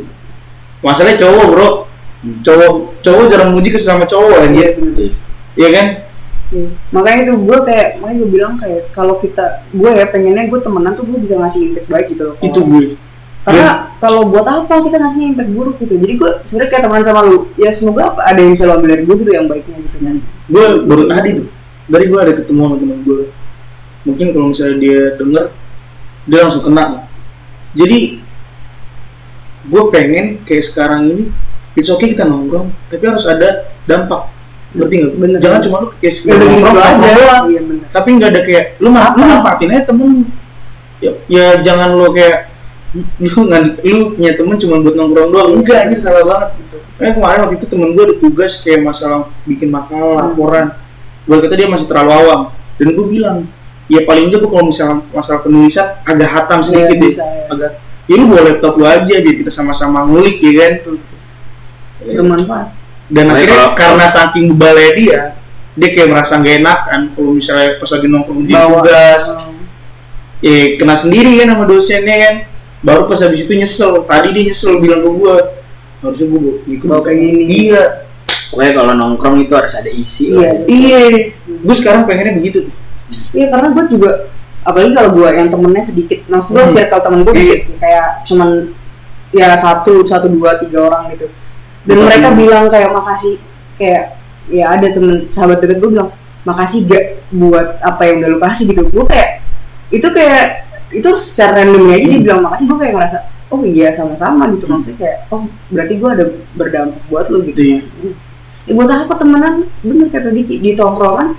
[SPEAKER 1] masalahnya cowok bro
[SPEAKER 2] Hmm.
[SPEAKER 1] cowok cowok jarang muji ke sesama cowok
[SPEAKER 3] Iya,
[SPEAKER 1] anjir
[SPEAKER 3] bener.
[SPEAKER 2] Iya.
[SPEAKER 1] iya kan
[SPEAKER 3] Iya. makanya itu gue kayak makanya gue bilang kayak kalau kita gue ya pengennya gue temenan tuh gue bisa ngasih impact baik gitu loh ke
[SPEAKER 1] itu
[SPEAKER 3] orang.
[SPEAKER 1] gue Iya.
[SPEAKER 3] karena kalau buat apa kita ngasih impact buruk gitu jadi gue sebenarnya kayak temenan sama lu ya semoga apa ada yang bisa lo ambil dari gue gitu yang baiknya gitu kan
[SPEAKER 1] gue baru tadi tuh dari gue ada ketemu sama temen gue mungkin kalau misalnya dia denger dia langsung kena nih. jadi gue pengen kayak sekarang ini it's okay kita nongkrong tapi harus ada dampak ngerti nggak
[SPEAKER 3] Bener.
[SPEAKER 1] jangan cuma lu kayak
[SPEAKER 3] ya
[SPEAKER 1] sekedar
[SPEAKER 3] udah gitu
[SPEAKER 1] nongkrong
[SPEAKER 3] aja
[SPEAKER 1] doang
[SPEAKER 3] iya benar
[SPEAKER 1] tapi nggak ada kayak *laughs* lu, ma- lu manfaatin aja temen lu ya, ya jangan lu kayak lu nggak lu punya temen cuma buat nongkrong doang enggak anjir salah banget gitu kayak kemarin waktu itu temen gue ada tugas kayak masalah bikin makalah laporan gue kata dia masih terlalu awam dan gue bilang ya paling enggak gue kalau misalnya masalah penulisan agak hatam sedikit
[SPEAKER 3] Iya,
[SPEAKER 1] deh
[SPEAKER 3] bisa, ya.
[SPEAKER 1] agak ya lu bawa laptop lu aja biar kita sama-sama ngulik ya kan
[SPEAKER 3] bermanfaat
[SPEAKER 1] dan
[SPEAKER 2] Tapi
[SPEAKER 1] akhirnya
[SPEAKER 2] kalau-
[SPEAKER 1] karena saking bebalnya dia dia kayak merasa nggak enakan kalau misalnya pas lagi nongkrong di tugas ya kena sendiri kan sama dosennya kan baru pas habis itu nyesel tadi dia nyesel bilang ke gua harusnya gua bawa- ikut
[SPEAKER 3] Bawa kayak gini.
[SPEAKER 1] iya
[SPEAKER 2] Pokoknya kalau nongkrong itu harus ada isi.
[SPEAKER 3] Iya.
[SPEAKER 2] lah.
[SPEAKER 1] iya gua sekarang pengennya begitu tuh
[SPEAKER 3] iya karena gue juga apalagi kalau gue yang temennya sedikit maksud gue
[SPEAKER 1] Hmm.
[SPEAKER 3] circle temen gue
[SPEAKER 1] Iya.
[SPEAKER 3] dikit kayak cuman ya satu satu dua tiga orang gitu dan
[SPEAKER 1] Betul.
[SPEAKER 3] mereka bilang kayak makasih kayak ya ada temen sahabat deket gue bilang makasih gak buat apa yang udah lu kasih gitu gue kayak itu kayak itu secara randomnya
[SPEAKER 1] Hmm.
[SPEAKER 3] aja dia bilang makasih gue kayak ngerasa oh iya sama-sama gitu maksudnya kayak oh berarti gue ada berdampak buat lu gitu
[SPEAKER 1] Iya.
[SPEAKER 3] ya buat apa temenan bener kata Diki di tongkrongan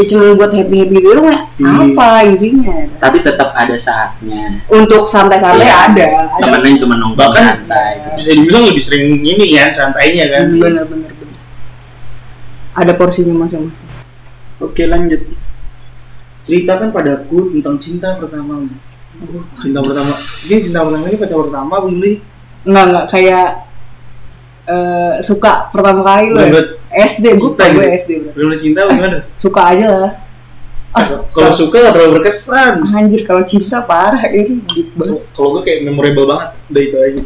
[SPEAKER 3] ya cuma buat happy happy gitu doang ya
[SPEAKER 1] Iya.
[SPEAKER 3] apa isinya ya kan?
[SPEAKER 2] Tapi tetap ada saatnya.
[SPEAKER 3] untuk santai-santai
[SPEAKER 2] Iya.
[SPEAKER 3] ada ada
[SPEAKER 2] Temenan cuma nongkrong
[SPEAKER 1] Bahkan-
[SPEAKER 2] santai. gitu.
[SPEAKER 1] bisa dibilang lebih sering ini kan santainya kan
[SPEAKER 3] Hmm, bener bener bener ada porsinya masing-masing
[SPEAKER 1] oke lanjut ceritakan padaku kan tentang cinta pertamamu cinta pertama ini cinta pertama ini pacar pertama Willy
[SPEAKER 3] enggak enggak kayak eh, suka pertama kali loh ya.
[SPEAKER 1] Bener.
[SPEAKER 3] SD gue
[SPEAKER 1] Cinta
[SPEAKER 3] gue
[SPEAKER 1] gitu.
[SPEAKER 3] SD bro.
[SPEAKER 1] belum cinta bagaimana
[SPEAKER 3] suka aja lah Ah,
[SPEAKER 1] kalau suka nggak terlalu berkesan
[SPEAKER 3] anjir kalau cinta parah ini dik banget
[SPEAKER 1] kalau gue kayak memorable banget udah itu aja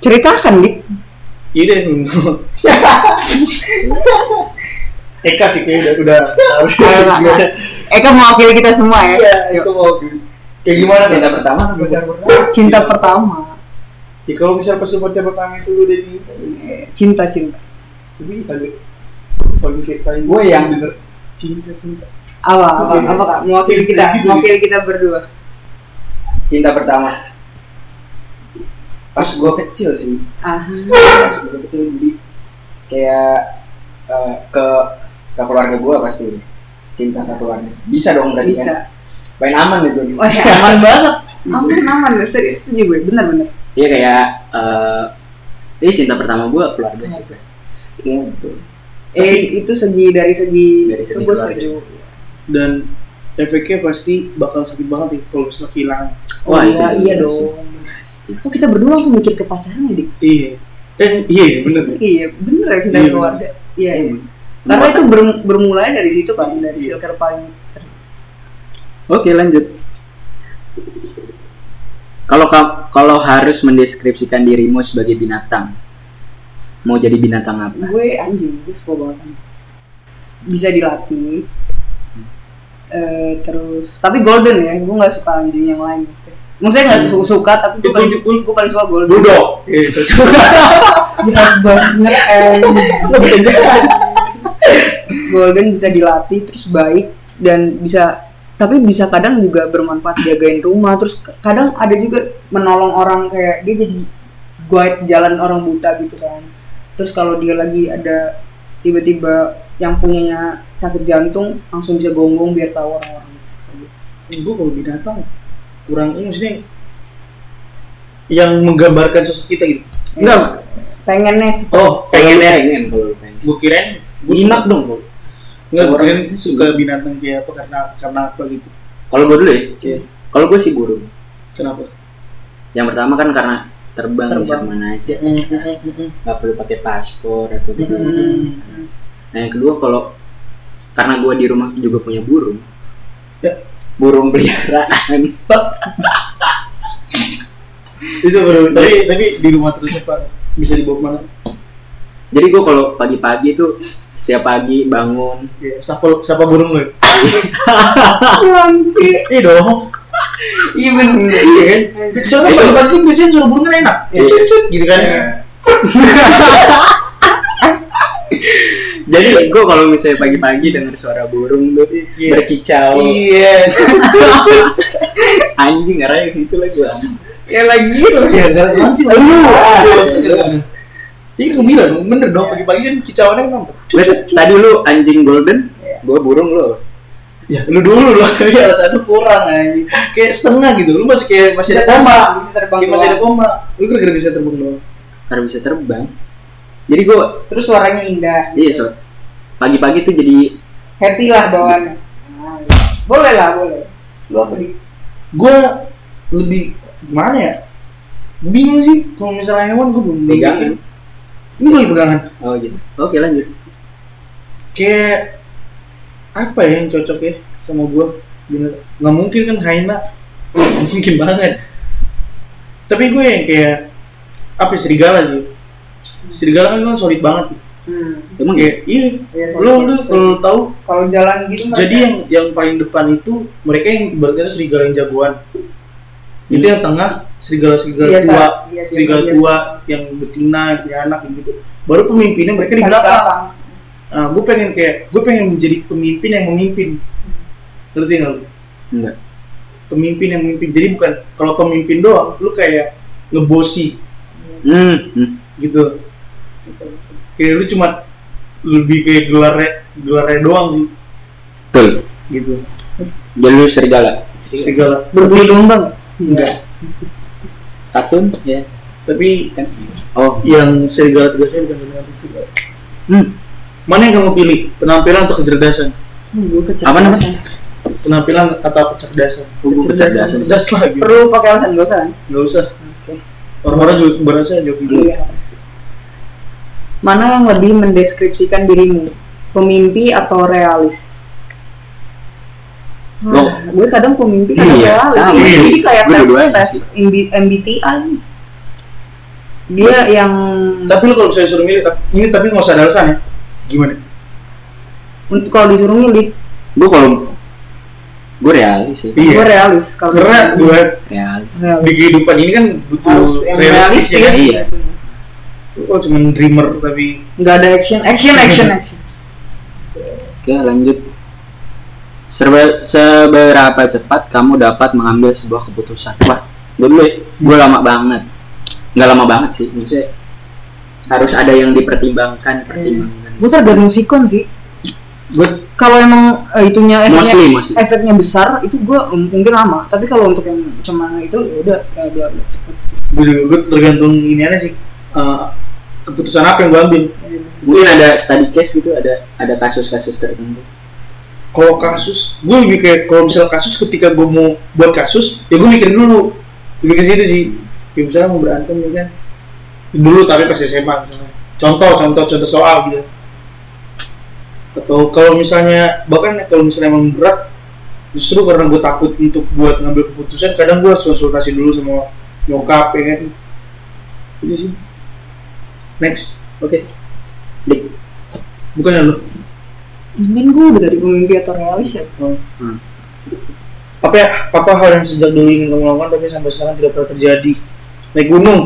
[SPEAKER 3] ceritakan
[SPEAKER 1] *laughs*
[SPEAKER 3] dik
[SPEAKER 1] Iya deh. *laughs* Eka sih kayaknya udah udah tahu.
[SPEAKER 3] Ayo, Kak. Eka mewakili kita semua ya
[SPEAKER 1] Iya, itu mau kayak gimana
[SPEAKER 4] cinta
[SPEAKER 1] Kak?
[SPEAKER 4] pertama atau pacar pertama?
[SPEAKER 1] Iya.
[SPEAKER 3] cinta pertama
[SPEAKER 1] Ya kalau misalnya pas lu pacar pertama itu lu udah cinta,
[SPEAKER 3] Eh, cinta cinta
[SPEAKER 1] tapi agak paling kita ini
[SPEAKER 4] Gue yang-
[SPEAKER 1] denger cinta cinta.
[SPEAKER 3] apa apa
[SPEAKER 1] Oke.
[SPEAKER 3] apa kak mewakili kita
[SPEAKER 1] Gitu, gitu.
[SPEAKER 3] mewakili kita berdua
[SPEAKER 4] Cinta pertama. Pas gue kecil sih.
[SPEAKER 3] ah
[SPEAKER 4] Pas gue kecil jadi kayak eh, ke ke keluarga gue pasti cinta ke keluarga. Bisa dong berarti kan?
[SPEAKER 3] bisa
[SPEAKER 4] Main aman ya gitu. deh gue.
[SPEAKER 3] wah aman banget aman aman gak serius setuju gue bener bener
[SPEAKER 2] Gitu. Iya kayak eh ini cinta pertama gue keluarga sih guys.
[SPEAKER 3] iya betul eh itu segi dari segi
[SPEAKER 2] Dari segi
[SPEAKER 3] itu gue
[SPEAKER 2] keluarga.
[SPEAKER 3] setuju
[SPEAKER 1] Dan efeknya pasti bakal sakit banget ya kalau misalnya kehilangan.
[SPEAKER 3] oh,
[SPEAKER 2] Wah,
[SPEAKER 3] iya
[SPEAKER 2] itu
[SPEAKER 3] iya
[SPEAKER 2] juga
[SPEAKER 3] dong Oh kita berdua langsung mikir ke pacaran ya, Dik?
[SPEAKER 1] Iya. Eh iya bener.
[SPEAKER 3] Iya, bener ya cinta
[SPEAKER 1] Iya,
[SPEAKER 3] keluarga. Iya, iya.
[SPEAKER 2] Emang.
[SPEAKER 3] Karena itu berm- bermulai dari situ kan, dari circle paling ter-
[SPEAKER 2] Oke lanjut. Kalau ka- kalau harus mendeskripsikan dirimu sebagai binatang, mau jadi binatang apa?
[SPEAKER 3] gue anjing, gue suka banget anjing. Bisa dilatih. Eh, terus tapi golden ya, gue nggak suka anjing yang lain maksudnya. Maksudnya nggak su- suka tapi gue
[SPEAKER 1] Itu
[SPEAKER 3] paling
[SPEAKER 1] jebul.
[SPEAKER 3] gue paling suka golden.
[SPEAKER 1] Budok. Iya.
[SPEAKER 3] Jahat banget anjing. golden bisa dilatih terus baik dan bisa tapi bisa kadang juga bermanfaat jagain rumah terus ke- kadang ada juga menolong orang kayak dia jadi guide jalan orang buta gitu kan terus kalau dia lagi ada tiba-tiba yang punyanya sakit jantung langsung bisa gonggong biar tahu orang-orang itu gitu.
[SPEAKER 1] gue kalau binatang kurang ini maksudnya yang menggambarkan sosok kita gitu. Enggak.
[SPEAKER 3] pengennya sih
[SPEAKER 1] Oh,
[SPEAKER 2] Pengen
[SPEAKER 1] pengen
[SPEAKER 2] ya, pengen kalau lu pengen.
[SPEAKER 1] gue kirain gue
[SPEAKER 2] Jinak
[SPEAKER 1] suka
[SPEAKER 2] dong kalau.
[SPEAKER 1] nggak gue
[SPEAKER 2] Orang
[SPEAKER 1] kirain
[SPEAKER 2] itu
[SPEAKER 1] suka binatang kayak apa karena karena apa gitu
[SPEAKER 2] Kalau gue dulu ya.
[SPEAKER 1] Iya.
[SPEAKER 2] Kalau gue sih burung.
[SPEAKER 1] kenapa
[SPEAKER 2] Yang pertama kan karena terbang, bisa
[SPEAKER 3] Terbang.
[SPEAKER 2] mana aja,
[SPEAKER 1] Mm, mm, mm, mm, mm.
[SPEAKER 2] nggak perlu pakai paspor atau gitu.
[SPEAKER 1] Hmm.
[SPEAKER 2] Nah yang kedua kalau karena gue di rumah juga punya burung,
[SPEAKER 1] Ya.
[SPEAKER 2] burung
[SPEAKER 1] *laughs*
[SPEAKER 2] peliharaan.
[SPEAKER 1] itu baru Iya. tapi tapi di rumah terus apa bisa dibawa kemana
[SPEAKER 2] Jadi gue kalau pagi-pagi tuh setiap pagi bangun
[SPEAKER 1] ya sapa sapa burung lo
[SPEAKER 3] Bangke.
[SPEAKER 1] iya dong
[SPEAKER 3] iya bener
[SPEAKER 1] iya kan soalnya pagi pagi biasanya suara burung kan enak ya
[SPEAKER 2] Iya.
[SPEAKER 1] cucut gitu kan
[SPEAKER 2] *laughs* Jadi gue kalau misalnya pagi-pagi dengar suara burung tuh
[SPEAKER 1] Iya.
[SPEAKER 2] berkicau,
[SPEAKER 1] *laughs* iya
[SPEAKER 2] anjing ngaranya ke situ lagi gue.
[SPEAKER 3] ya lagi itu
[SPEAKER 1] iya karena kan sih
[SPEAKER 3] Aduh.
[SPEAKER 1] kan. Iya, gue bilang bener kan dong pagi-pagi kan kicauannya mantap. Iya.
[SPEAKER 2] Tadi lu anjing golden, gue burung lo.
[SPEAKER 1] ya lu dulu *laughs* lah tapi alasan lu kurang aja kayak setengah gitu lu masih kayak masih ada koma
[SPEAKER 3] bisa terbang
[SPEAKER 1] kayak masih ada
[SPEAKER 3] doang.
[SPEAKER 1] koma lu kira-kira bisa terbang doang
[SPEAKER 2] karena bisa terbang jadi gue
[SPEAKER 3] terus suaranya indah
[SPEAKER 2] iya so pagi-pagi tuh jadi
[SPEAKER 3] happy lah bawaannya Nah, boleh lah boleh
[SPEAKER 2] lu apa di
[SPEAKER 1] gue lebih gimana ya bingung sih kalau misalnya hewan gue belum belum
[SPEAKER 2] pegangan
[SPEAKER 1] bikin. ini gue lagi pegangan
[SPEAKER 2] oh gitu oke lanjut
[SPEAKER 1] kayak apa ya yang cocok ya sama gue bener nggak mungkin kan Haina nggak mungkin banget tapi gue yang kayak apa ya, serigala sih serigala kan kan solid banget
[SPEAKER 3] hmm.
[SPEAKER 2] emang
[SPEAKER 1] kayak iya
[SPEAKER 3] Iya,
[SPEAKER 1] lo lo
[SPEAKER 3] solid, solid.
[SPEAKER 1] kalau tahu
[SPEAKER 3] kalau jalan gitu mereka-
[SPEAKER 1] jadi yang yang paling depan itu mereka yang ibaratnya itu serigala yang jagoan itu yang tengah serigala serigala
[SPEAKER 3] Biasa,
[SPEAKER 1] tua
[SPEAKER 3] biasa,
[SPEAKER 1] Iya, serigala
[SPEAKER 3] biasa.
[SPEAKER 1] tua yang betina yang punya anak yang gitu baru pemimpinnya mereka di
[SPEAKER 3] Paling
[SPEAKER 1] belakang nah gue pengen kayak gue pengen menjadi pemimpin yang memimpin ngerti nggak lu?
[SPEAKER 2] enggak
[SPEAKER 1] pemimpin yang memimpin jadi bukan kalau pemimpin doang lu kayak ngebosi
[SPEAKER 2] hmm, hmm.
[SPEAKER 1] gitu
[SPEAKER 3] Gitu, gitu.
[SPEAKER 1] kayak lu cuma lebih kayak gelarnya gelarnya doang sih
[SPEAKER 2] betul
[SPEAKER 1] gitu
[SPEAKER 2] jadi lu serigala
[SPEAKER 3] Iya.
[SPEAKER 1] serigala
[SPEAKER 3] berbulu dombang
[SPEAKER 1] enggak
[SPEAKER 2] katun ya
[SPEAKER 1] tapi
[SPEAKER 2] kan oh
[SPEAKER 1] yang serigala tugasnya bukan benar-benar serigala
[SPEAKER 2] hmm.
[SPEAKER 1] Mana yang kamu pilih? Penampilan atau kecerdasan?
[SPEAKER 3] Hmm, gua kecerdasan.
[SPEAKER 2] Apa namanya?
[SPEAKER 1] Penampilan atau kecerdasan?
[SPEAKER 2] Gua
[SPEAKER 3] Kecerdasan.
[SPEAKER 2] kecerdasan
[SPEAKER 1] Cerdas lagi.
[SPEAKER 3] perlu pakai alasan gak usah kan?
[SPEAKER 1] Nggak usah.
[SPEAKER 3] Oke.
[SPEAKER 1] Orang-orang juga gitu. berasa jauh video.
[SPEAKER 3] Iya, pasti. Mana yang lebih mendeskripsikan dirimu? Pemimpi atau realis? Wah,
[SPEAKER 2] Loh.
[SPEAKER 3] gue kadang pemimpi kadang
[SPEAKER 2] Iya,
[SPEAKER 3] realis.
[SPEAKER 2] sama.
[SPEAKER 3] Ini, ini kayak
[SPEAKER 2] Gue
[SPEAKER 3] tes
[SPEAKER 2] dua-duanya
[SPEAKER 3] tes MB- MBTI. Dia yang
[SPEAKER 1] Tapi lu kalau misalnya suruh milih, tapi- ini tapi nggak usah ada alasan ya? Gimana?
[SPEAKER 3] untuk kalau disuruh milih,
[SPEAKER 2] gue kalau gue realis sih
[SPEAKER 1] Iya.
[SPEAKER 3] gue realis kalau
[SPEAKER 1] Karena
[SPEAKER 3] disuruh milih.
[SPEAKER 1] buat
[SPEAKER 2] realis
[SPEAKER 1] di
[SPEAKER 3] realis.
[SPEAKER 1] kehidupan ini kan butuh
[SPEAKER 3] Harus yang
[SPEAKER 1] realistis ya.
[SPEAKER 3] realistis.
[SPEAKER 2] iya
[SPEAKER 1] Oh cuman dreamer tapi
[SPEAKER 3] Nggak ada action, action, action, action.
[SPEAKER 2] Oke lanjut Serba- Seberapa cepat kamu dapat mengambil sebuah keputusan Wah gue dulu ya Gue lama banget Nggak lama banget sih Maksudnya harus ada yang dipertimbangkan Pertimbangkan
[SPEAKER 3] Gue tergantung sikon sih.
[SPEAKER 1] gue
[SPEAKER 3] kalau emang eh, itunya
[SPEAKER 2] Mostly,
[SPEAKER 3] efeknya,
[SPEAKER 2] mostly.
[SPEAKER 3] efeknya besar itu gue mungkin lama tapi kalau untuk yang cuma itu ya udah ya udah udah cepet sih
[SPEAKER 1] gue gue tergantung ini aja sih. Eh, keputusan apa yang gue ambil?
[SPEAKER 2] Mungkin ada study case gitu Ada ada kasus-kasus tertentu
[SPEAKER 1] Kalau kasus, gue lebih kayak kalau misalnya kasus ketika gue mau buat kasus, ya gue mikir dulu. Lebih ke situ sih. Ya misalnya mau berantem ya kan. Dulu tapi pas SMA misalnya. Contoh, contoh, contoh soal gitu. Atau kalau misalnya bahkan kalau misalnya emang berat, justru karena gue takut untuk buat ngambil keputusan, kadang gue harus konsultasi dulu sama nyokap ya kan. Itu sih. Next,
[SPEAKER 2] Oke Dik
[SPEAKER 1] bukan ya lu?
[SPEAKER 3] mungkin gue udah dari pemimpi atau realis ya
[SPEAKER 2] Hmm.
[SPEAKER 1] apa ya, apa hal yang sejak dulu ingin kamu lakukan tapi sampai sekarang tidak pernah terjadi naik gunung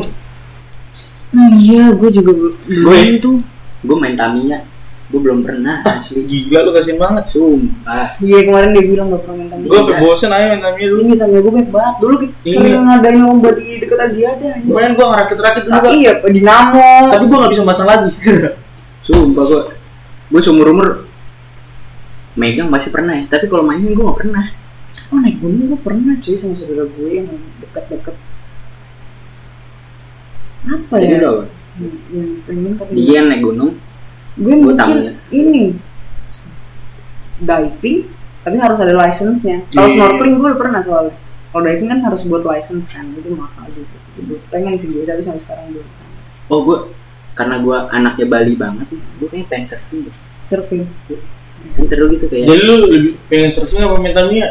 [SPEAKER 3] Hmm, iya gue juga belum
[SPEAKER 2] Gue?
[SPEAKER 3] belum tuh
[SPEAKER 2] Gue main Tamiya Gue belum pernah asli
[SPEAKER 1] gila lu kasihan banget
[SPEAKER 2] Sumpah
[SPEAKER 3] iya kemarin dia bilang gak pernah main
[SPEAKER 1] gue
[SPEAKER 3] tampil
[SPEAKER 1] sampai bosen aja main Tamiya dulu
[SPEAKER 3] iya sama gue banyak banget dulu kita
[SPEAKER 1] Iya.
[SPEAKER 3] sering ngadain lomba di dekat Aziada anjing.
[SPEAKER 1] kemarin gue ngerakit-rakit dulu
[SPEAKER 3] Ah,
[SPEAKER 1] Kak.
[SPEAKER 3] iya Pak Dinamo
[SPEAKER 1] tapi gue gak bisa masang lagi
[SPEAKER 2] Sumpah gue Gue seumur-umur Megang masih pernah ya Tapi kalau mainin gue nggak pernah
[SPEAKER 3] oh naik gunung gue pernah cuy sama saudara gue yang dekat-dekat apa
[SPEAKER 2] Jadi
[SPEAKER 3] ya
[SPEAKER 2] lo apa?
[SPEAKER 3] Yang- yang pengen tapi
[SPEAKER 1] Iya.
[SPEAKER 2] Dia naik gunung
[SPEAKER 3] gue
[SPEAKER 2] Gua
[SPEAKER 3] mungkin
[SPEAKER 2] tahu ya.
[SPEAKER 3] ini diving tapi harus ada license-nya kalau
[SPEAKER 1] Iya.
[SPEAKER 3] snorkeling gue udah pernah soalnya kalau diving kan harus buat license kan itu mahal gitu Itu gue pengen sih gue tapi sampai sekarang belum bisa
[SPEAKER 2] oh gue karena gue anaknya Bali banget nih gue kayaknya pengen surfing deh
[SPEAKER 3] surfing
[SPEAKER 2] kan seru gitu kayak
[SPEAKER 3] Iya.
[SPEAKER 1] jadi lu lebih pengen surfing apa main Tamiya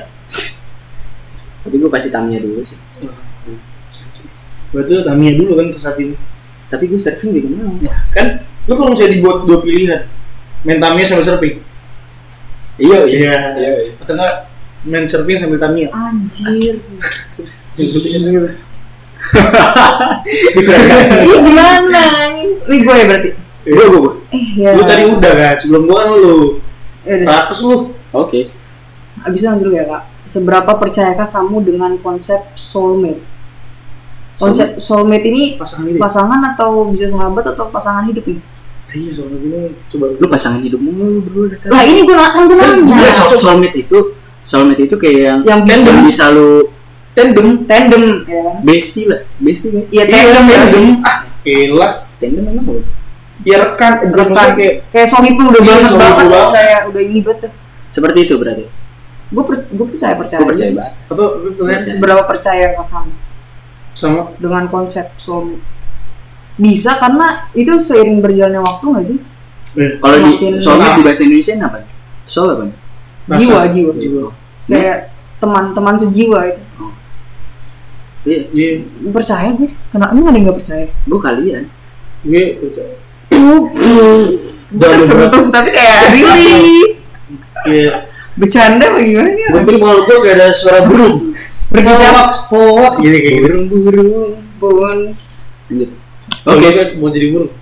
[SPEAKER 2] tapi gue pasti Tamiya dulu sih
[SPEAKER 1] berarti lu Tamiya dulu kan ke saat ini
[SPEAKER 2] tapi gue surfing juga mau
[SPEAKER 3] Iya.
[SPEAKER 1] nah, kan lu kalau misalnya dibuat dua pilihan main Tamiya sama surfing
[SPEAKER 2] iya
[SPEAKER 1] iya atau enggak main surfing sambil Tamiya
[SPEAKER 3] anjir
[SPEAKER 1] Iya,
[SPEAKER 3] ini gimana ini gue ya berarti
[SPEAKER 1] gue gue.
[SPEAKER 3] eh ya
[SPEAKER 1] Iya. Lu tadi udah kan, sebelum gua kan lu.
[SPEAKER 3] Yaudah.
[SPEAKER 1] Rakus lu.
[SPEAKER 2] oke
[SPEAKER 3] abis itu yang dulu ya kak seberapa percayakah kamu dengan konsep soulmate konsep soulmate ini
[SPEAKER 1] Pasangan ini.
[SPEAKER 3] pasangan atau bisa sahabat atau pasangan hidup gitu? nih
[SPEAKER 1] iya soalnya gini coba
[SPEAKER 2] Lu pasangan hidup mulu berdua datang.
[SPEAKER 3] lah ini gue kan gue
[SPEAKER 2] Kan
[SPEAKER 3] nanya
[SPEAKER 2] dia soul- soulmate itu soulmate itu kayak yang
[SPEAKER 3] Yang bisa-
[SPEAKER 2] yang bisa lu
[SPEAKER 1] tandem
[SPEAKER 3] tandem ya
[SPEAKER 2] Iya.
[SPEAKER 3] kan
[SPEAKER 2] bestie lah bestie kan
[SPEAKER 3] iya
[SPEAKER 1] iya
[SPEAKER 3] tandem ya
[SPEAKER 1] tandem ah elah
[SPEAKER 2] tandem memang lu
[SPEAKER 1] ya rekan eh, bukan
[SPEAKER 3] rekan
[SPEAKER 1] maksudnya kayak
[SPEAKER 3] kayak sohibul udah
[SPEAKER 1] Iya,
[SPEAKER 3] banget
[SPEAKER 1] sohibul
[SPEAKER 3] banget
[SPEAKER 1] banget.
[SPEAKER 3] kayak udah ini banget
[SPEAKER 2] seperti itu berarti
[SPEAKER 3] gue gue percaya percaya
[SPEAKER 2] gue
[SPEAKER 3] aja
[SPEAKER 2] percaya
[SPEAKER 3] sih.
[SPEAKER 2] banget
[SPEAKER 1] apa pertanyaan sih?
[SPEAKER 3] seberapa percaya sama kamu
[SPEAKER 1] sama
[SPEAKER 3] dengan konsep soulmate bisa karena itu seiring berjalannya waktu nggak sih
[SPEAKER 1] eh,
[SPEAKER 2] kalau di
[SPEAKER 3] Makin-
[SPEAKER 2] soulmate di bahasa Indonesia apa soul apa
[SPEAKER 1] Rasa.
[SPEAKER 3] jiwa jiwa
[SPEAKER 2] jiwa
[SPEAKER 3] kayak teman-teman sejiwa itu
[SPEAKER 2] iya
[SPEAKER 1] iya
[SPEAKER 3] percaya gue kenapa emang ada yang nggak percaya
[SPEAKER 2] gue kalian
[SPEAKER 1] gue percaya
[SPEAKER 3] gue
[SPEAKER 1] Udah, udah,
[SPEAKER 3] tersentuh tapi kayak really
[SPEAKER 1] kayak
[SPEAKER 3] bercanda apa gimana ya
[SPEAKER 1] tapi Iya, kalau gue kayak ada suara *laughs* burung
[SPEAKER 3] berbicara
[SPEAKER 1] hoax hoax gini kayak gitu
[SPEAKER 2] burung burung
[SPEAKER 3] pun
[SPEAKER 2] lanjut
[SPEAKER 1] oke
[SPEAKER 2] oke
[SPEAKER 1] kan mau jadi burung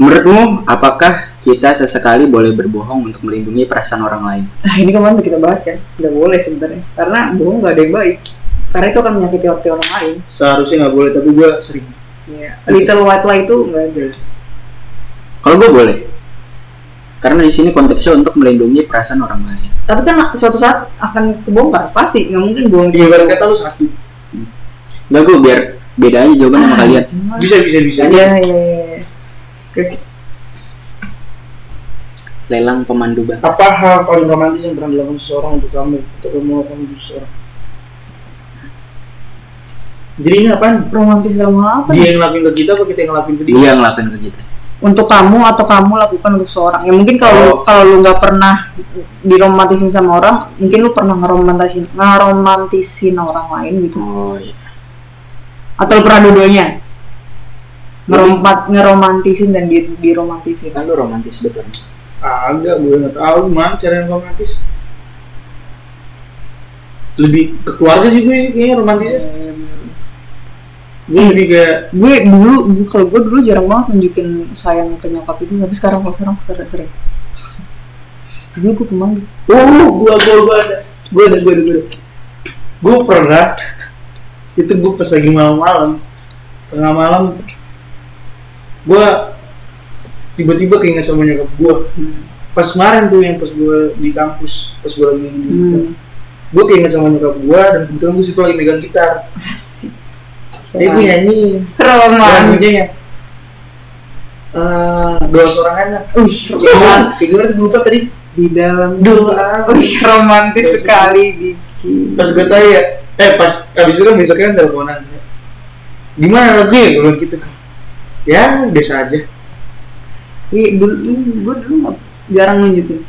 [SPEAKER 2] menurutmu apakah kita sesekali boleh berbohong untuk melindungi perasaan orang lain
[SPEAKER 3] Nah ini kemarin udah kita bahas kan, nggak boleh sebenarnya, karena bohong nggak ada yang baik, karena itu akan menyakiti hati orang lain.
[SPEAKER 1] seharusnya nggak boleh tapi gue sering
[SPEAKER 3] Iya. Little white lie itu nggak ada.
[SPEAKER 2] kalau gue boleh karena di sini konteksnya untuk melindungi perasaan orang lain
[SPEAKER 3] Tapi kan suatu saat akan kebongkar, pasti nggak mungkin bohong.
[SPEAKER 1] iya ibarat kata lu sakit
[SPEAKER 2] Enggak gue biar beda aja jawaban sama kalian
[SPEAKER 1] bisa bisa bisa
[SPEAKER 3] Ah, Iya iya. iya. Oke.
[SPEAKER 2] lelang pemandu bang
[SPEAKER 1] apa hal paling romantis yang pernah dilakukan seseorang untuk kamu untuk kamu melakukan untuk seseorang jadi ini apa nih
[SPEAKER 3] Romantis dalam hal apa?
[SPEAKER 1] dia
[SPEAKER 3] nih?
[SPEAKER 1] yang ngelakuin ke kita apa kita yang ngelakuin ke dia
[SPEAKER 2] dia ngelakuin ke kita
[SPEAKER 3] Untuk kamu atau kamu lakukan untuk seorang. Ya mungkin
[SPEAKER 1] Oh.
[SPEAKER 3] kalau kalau lu nggak pernah diromantisin sama orang, mungkin lu pernah ngeromantisin ngeromantisin orang lain gitu.
[SPEAKER 2] oh iya
[SPEAKER 3] Atau lu pernah dua-duanya? Ngerompat, ngeromantisin dan di, diromantisin.
[SPEAKER 2] kan lu romantis betul
[SPEAKER 1] agak gue nggak tahu gimana cara yang romantis lebih ke keluarga sih gue sih kayaknya romantisnya gue lebih kayak
[SPEAKER 3] gue dulu gue- kalau gue dulu jarang banget nunjukin sayang ke nyokap itu tapi sekarang kalau sekarang sekarang sering *laughs* dulu gue pemalu
[SPEAKER 1] uh gue gue gue ada gue ada gue ada gue ada gue pernah *laughs* itu gue pas lagi malam-malam tengah malam gue tiba-tiba keinget sama nyokap gue pas kemarin tuh yang pas gue di kampus pas gue lagi di
[SPEAKER 3] hmm.
[SPEAKER 1] gue keinget sama nyokap gue dan kebetulan gue situ lagi megang gitar
[SPEAKER 3] asik
[SPEAKER 1] jadi gue ya. nyanyiin Ada
[SPEAKER 3] roman
[SPEAKER 1] lagunya ya Eh, doa seorang anak
[SPEAKER 3] Wih, roman
[SPEAKER 1] Gimana- kayak gimana tuh gue lupa tadi
[SPEAKER 3] di dalam
[SPEAKER 1] doa
[SPEAKER 3] Wih, romantis sekali Diki
[SPEAKER 1] pas gue tanya eh pas abis itu kan besoknya kan teleponan di mana lagunya gue bilang gitu ya biasa aja
[SPEAKER 3] Iya, dulu gue dulu nggak- jarang nunjukin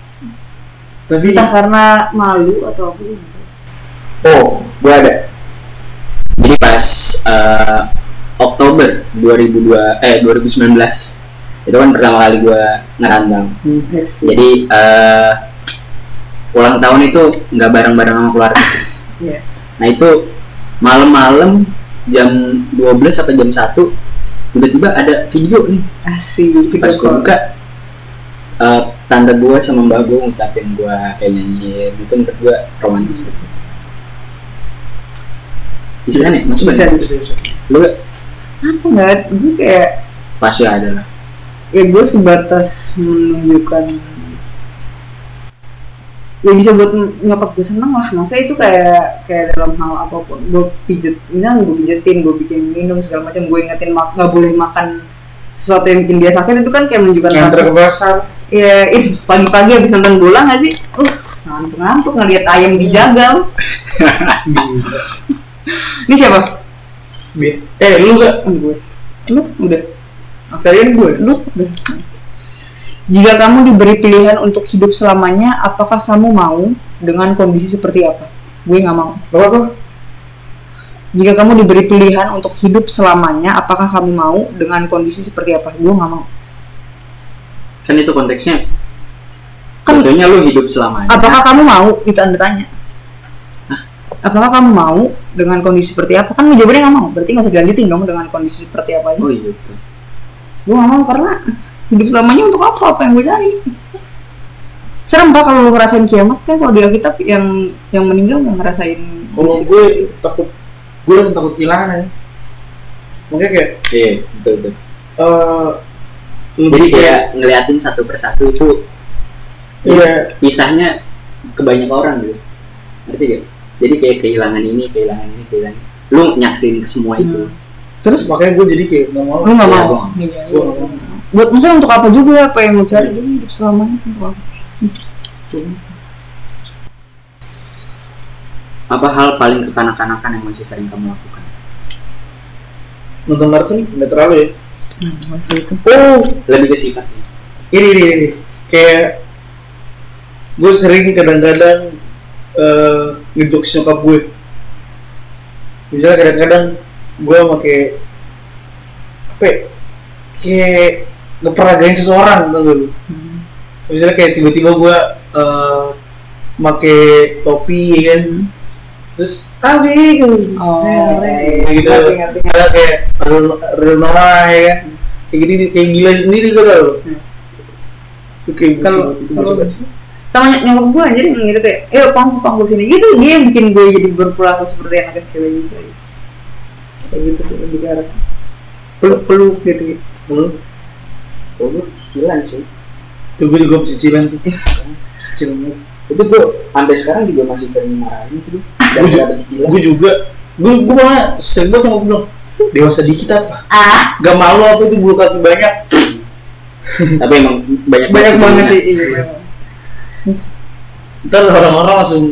[SPEAKER 1] tapi
[SPEAKER 3] entah karena malu atau apa gitu
[SPEAKER 4] oh gue ada
[SPEAKER 2] jadi pas eh, Oktober 2002 eh 2019 itu kan pertama kali gue ngerantau
[SPEAKER 3] asik
[SPEAKER 2] jadi eh, ulang tahun itu nggak bareng-bareng sama keluarga
[SPEAKER 3] Iya.
[SPEAKER 2] nah itu malam-malam jam 12 sampai jam 1 tiba-tiba ada video nih
[SPEAKER 3] asik
[SPEAKER 2] pas gue buka eh, tante gue sama mbak gue ngucapin gue kayak nyanyiin itu menurut gue romantis banget sih bisa kan ya masuk
[SPEAKER 3] Bisa.
[SPEAKER 2] kan? lu gak?
[SPEAKER 3] aku nggak gue kayak
[SPEAKER 2] pasti ada lah
[SPEAKER 3] ya gue sebatas menunjukkan ya bisa buat nyokap gue seneng lah maksudnya itu kayak kayak dalam hal apapun gue pijet misalnya gue pijetin gue bikin minum segala macam gue ingetin mak- nggak boleh makan sesuatu yang bikin dia sakit itu kan kayak menunjukkan
[SPEAKER 1] nganter ke pasar
[SPEAKER 3] ya ih, pagi-pagi habis nonton bola nggak sih uh ngantuk-ngantuk ngeliat ayam dijagal
[SPEAKER 1] Gila.
[SPEAKER 3] ini siapa
[SPEAKER 1] Bi- eh lu gak
[SPEAKER 3] Ini gue lu udah kalian gue lu udah jika kamu diberi pilihan untuk hidup selamanya, apakah kamu mau dengan kondisi seperti apa? Gue nggak mau.
[SPEAKER 1] apa apa
[SPEAKER 3] Jika kamu diberi pilihan untuk hidup selamanya, apakah kamu mau dengan kondisi seperti apa? Gue nggak mau.
[SPEAKER 2] kan itu konteksnya
[SPEAKER 3] Kan-
[SPEAKER 2] tentunya lu hidup selamanya
[SPEAKER 3] Apakah kamu mau? Itu anda tanya. Apakah kamu mau dengan kondisi seperti apa? Kan lu jawabannya nggak mau. Berarti nggak usah dilanjutin dong dengan kondisi seperti apa ini.
[SPEAKER 2] oh iya betul
[SPEAKER 3] Gue nggak mau karena hidup selamanya untuk apa? Apa yang gue cari? Serem pak kalau lu ngerasain kiamat kan kalau di Alkitab yang yang meninggal nggak ngerasain.
[SPEAKER 1] kalau
[SPEAKER 3] kondisi
[SPEAKER 1] gue
[SPEAKER 3] seperti itu.
[SPEAKER 1] takut gue udah takut kehilangan ya makanya kayak
[SPEAKER 2] iya betul betul
[SPEAKER 1] eh, Lebih
[SPEAKER 2] jadi
[SPEAKER 1] kayak-
[SPEAKER 4] Iya.
[SPEAKER 2] kayak ngeliatin satu persatu itu
[SPEAKER 1] Iya.
[SPEAKER 2] pisahnya ke banyak orang gitu ngerti gak jadi kayak kehilangan ini kehilangan ini kehilangan ini. lu nyaksin semua
[SPEAKER 4] Hmm.
[SPEAKER 2] itu
[SPEAKER 1] Terus makanya gue jadi kayak nggak mau.
[SPEAKER 3] Hmm. lu nggak
[SPEAKER 2] Iya,
[SPEAKER 3] mau
[SPEAKER 2] gua nggak mau.
[SPEAKER 3] Iya,
[SPEAKER 1] Gua
[SPEAKER 3] iya.
[SPEAKER 1] nggak mau.
[SPEAKER 3] buat maksudnya untuk apa juga apa yang mau cari dulu hidup selamanya itu untuk apa
[SPEAKER 2] apa hal paling kekanak-kanakan yang masih sering kamu lakukan
[SPEAKER 1] Nonton kartun nggak terlalu ya.
[SPEAKER 3] nah, masih itu
[SPEAKER 1] Oh,
[SPEAKER 2] lebih ke sifatnya
[SPEAKER 1] ini ini ini. Kayak gue sering kadang-kadang eh ngejokes nyokap gue. Misalnya kadang-kadang gue pakai apa? Ya? Kayak ngeperagain seseorang tau gak lu?
[SPEAKER 3] Hmm.
[SPEAKER 1] Misalnya kayak tiba-tiba gue eh make topi ya kan, terus Abi,
[SPEAKER 3] Oh, iya,
[SPEAKER 1] gitu,
[SPEAKER 3] ngerti, ngerti, ngerti.
[SPEAKER 1] Ada kayak Rel- Renora ya kan, kayak gitu kayak gila sendiri gue tau loh.
[SPEAKER 3] Hmm.
[SPEAKER 1] Itu kayak gue
[SPEAKER 3] Kalau-
[SPEAKER 1] itu gue
[SPEAKER 3] Kan kalau-
[SPEAKER 1] coba sih.
[SPEAKER 3] sama ny- nyokap gue anjir gitu kayak ayo pangku pangku sini gitu dia yang bikin gue jadi berperilaku seperti anak kecil gitu kayak gitu sih lebih ke arah sana. peluk peluk gitu gitu
[SPEAKER 1] Kalau
[SPEAKER 4] Kalau gue Oh, cicilan sih.
[SPEAKER 1] itu gue juga cicilan tuh,
[SPEAKER 3] Iya.
[SPEAKER 1] cicilan gue.
[SPEAKER 4] Itu gue sampai sekarang juga masih sering marahin
[SPEAKER 2] *laughs*
[SPEAKER 4] itu. Dan
[SPEAKER 1] Gua ju-
[SPEAKER 4] dapat cicilan.
[SPEAKER 1] Gue juga, gue gue malah sering banget sama gue bilang dewasa dikit apa?
[SPEAKER 3] ah
[SPEAKER 1] Gak malu apa itu bulu kaki banyak?
[SPEAKER 2] tapi emang banyak
[SPEAKER 3] banyak banget
[SPEAKER 2] sebelumnya.
[SPEAKER 3] sih iya.
[SPEAKER 1] Ntar orang-orang langsung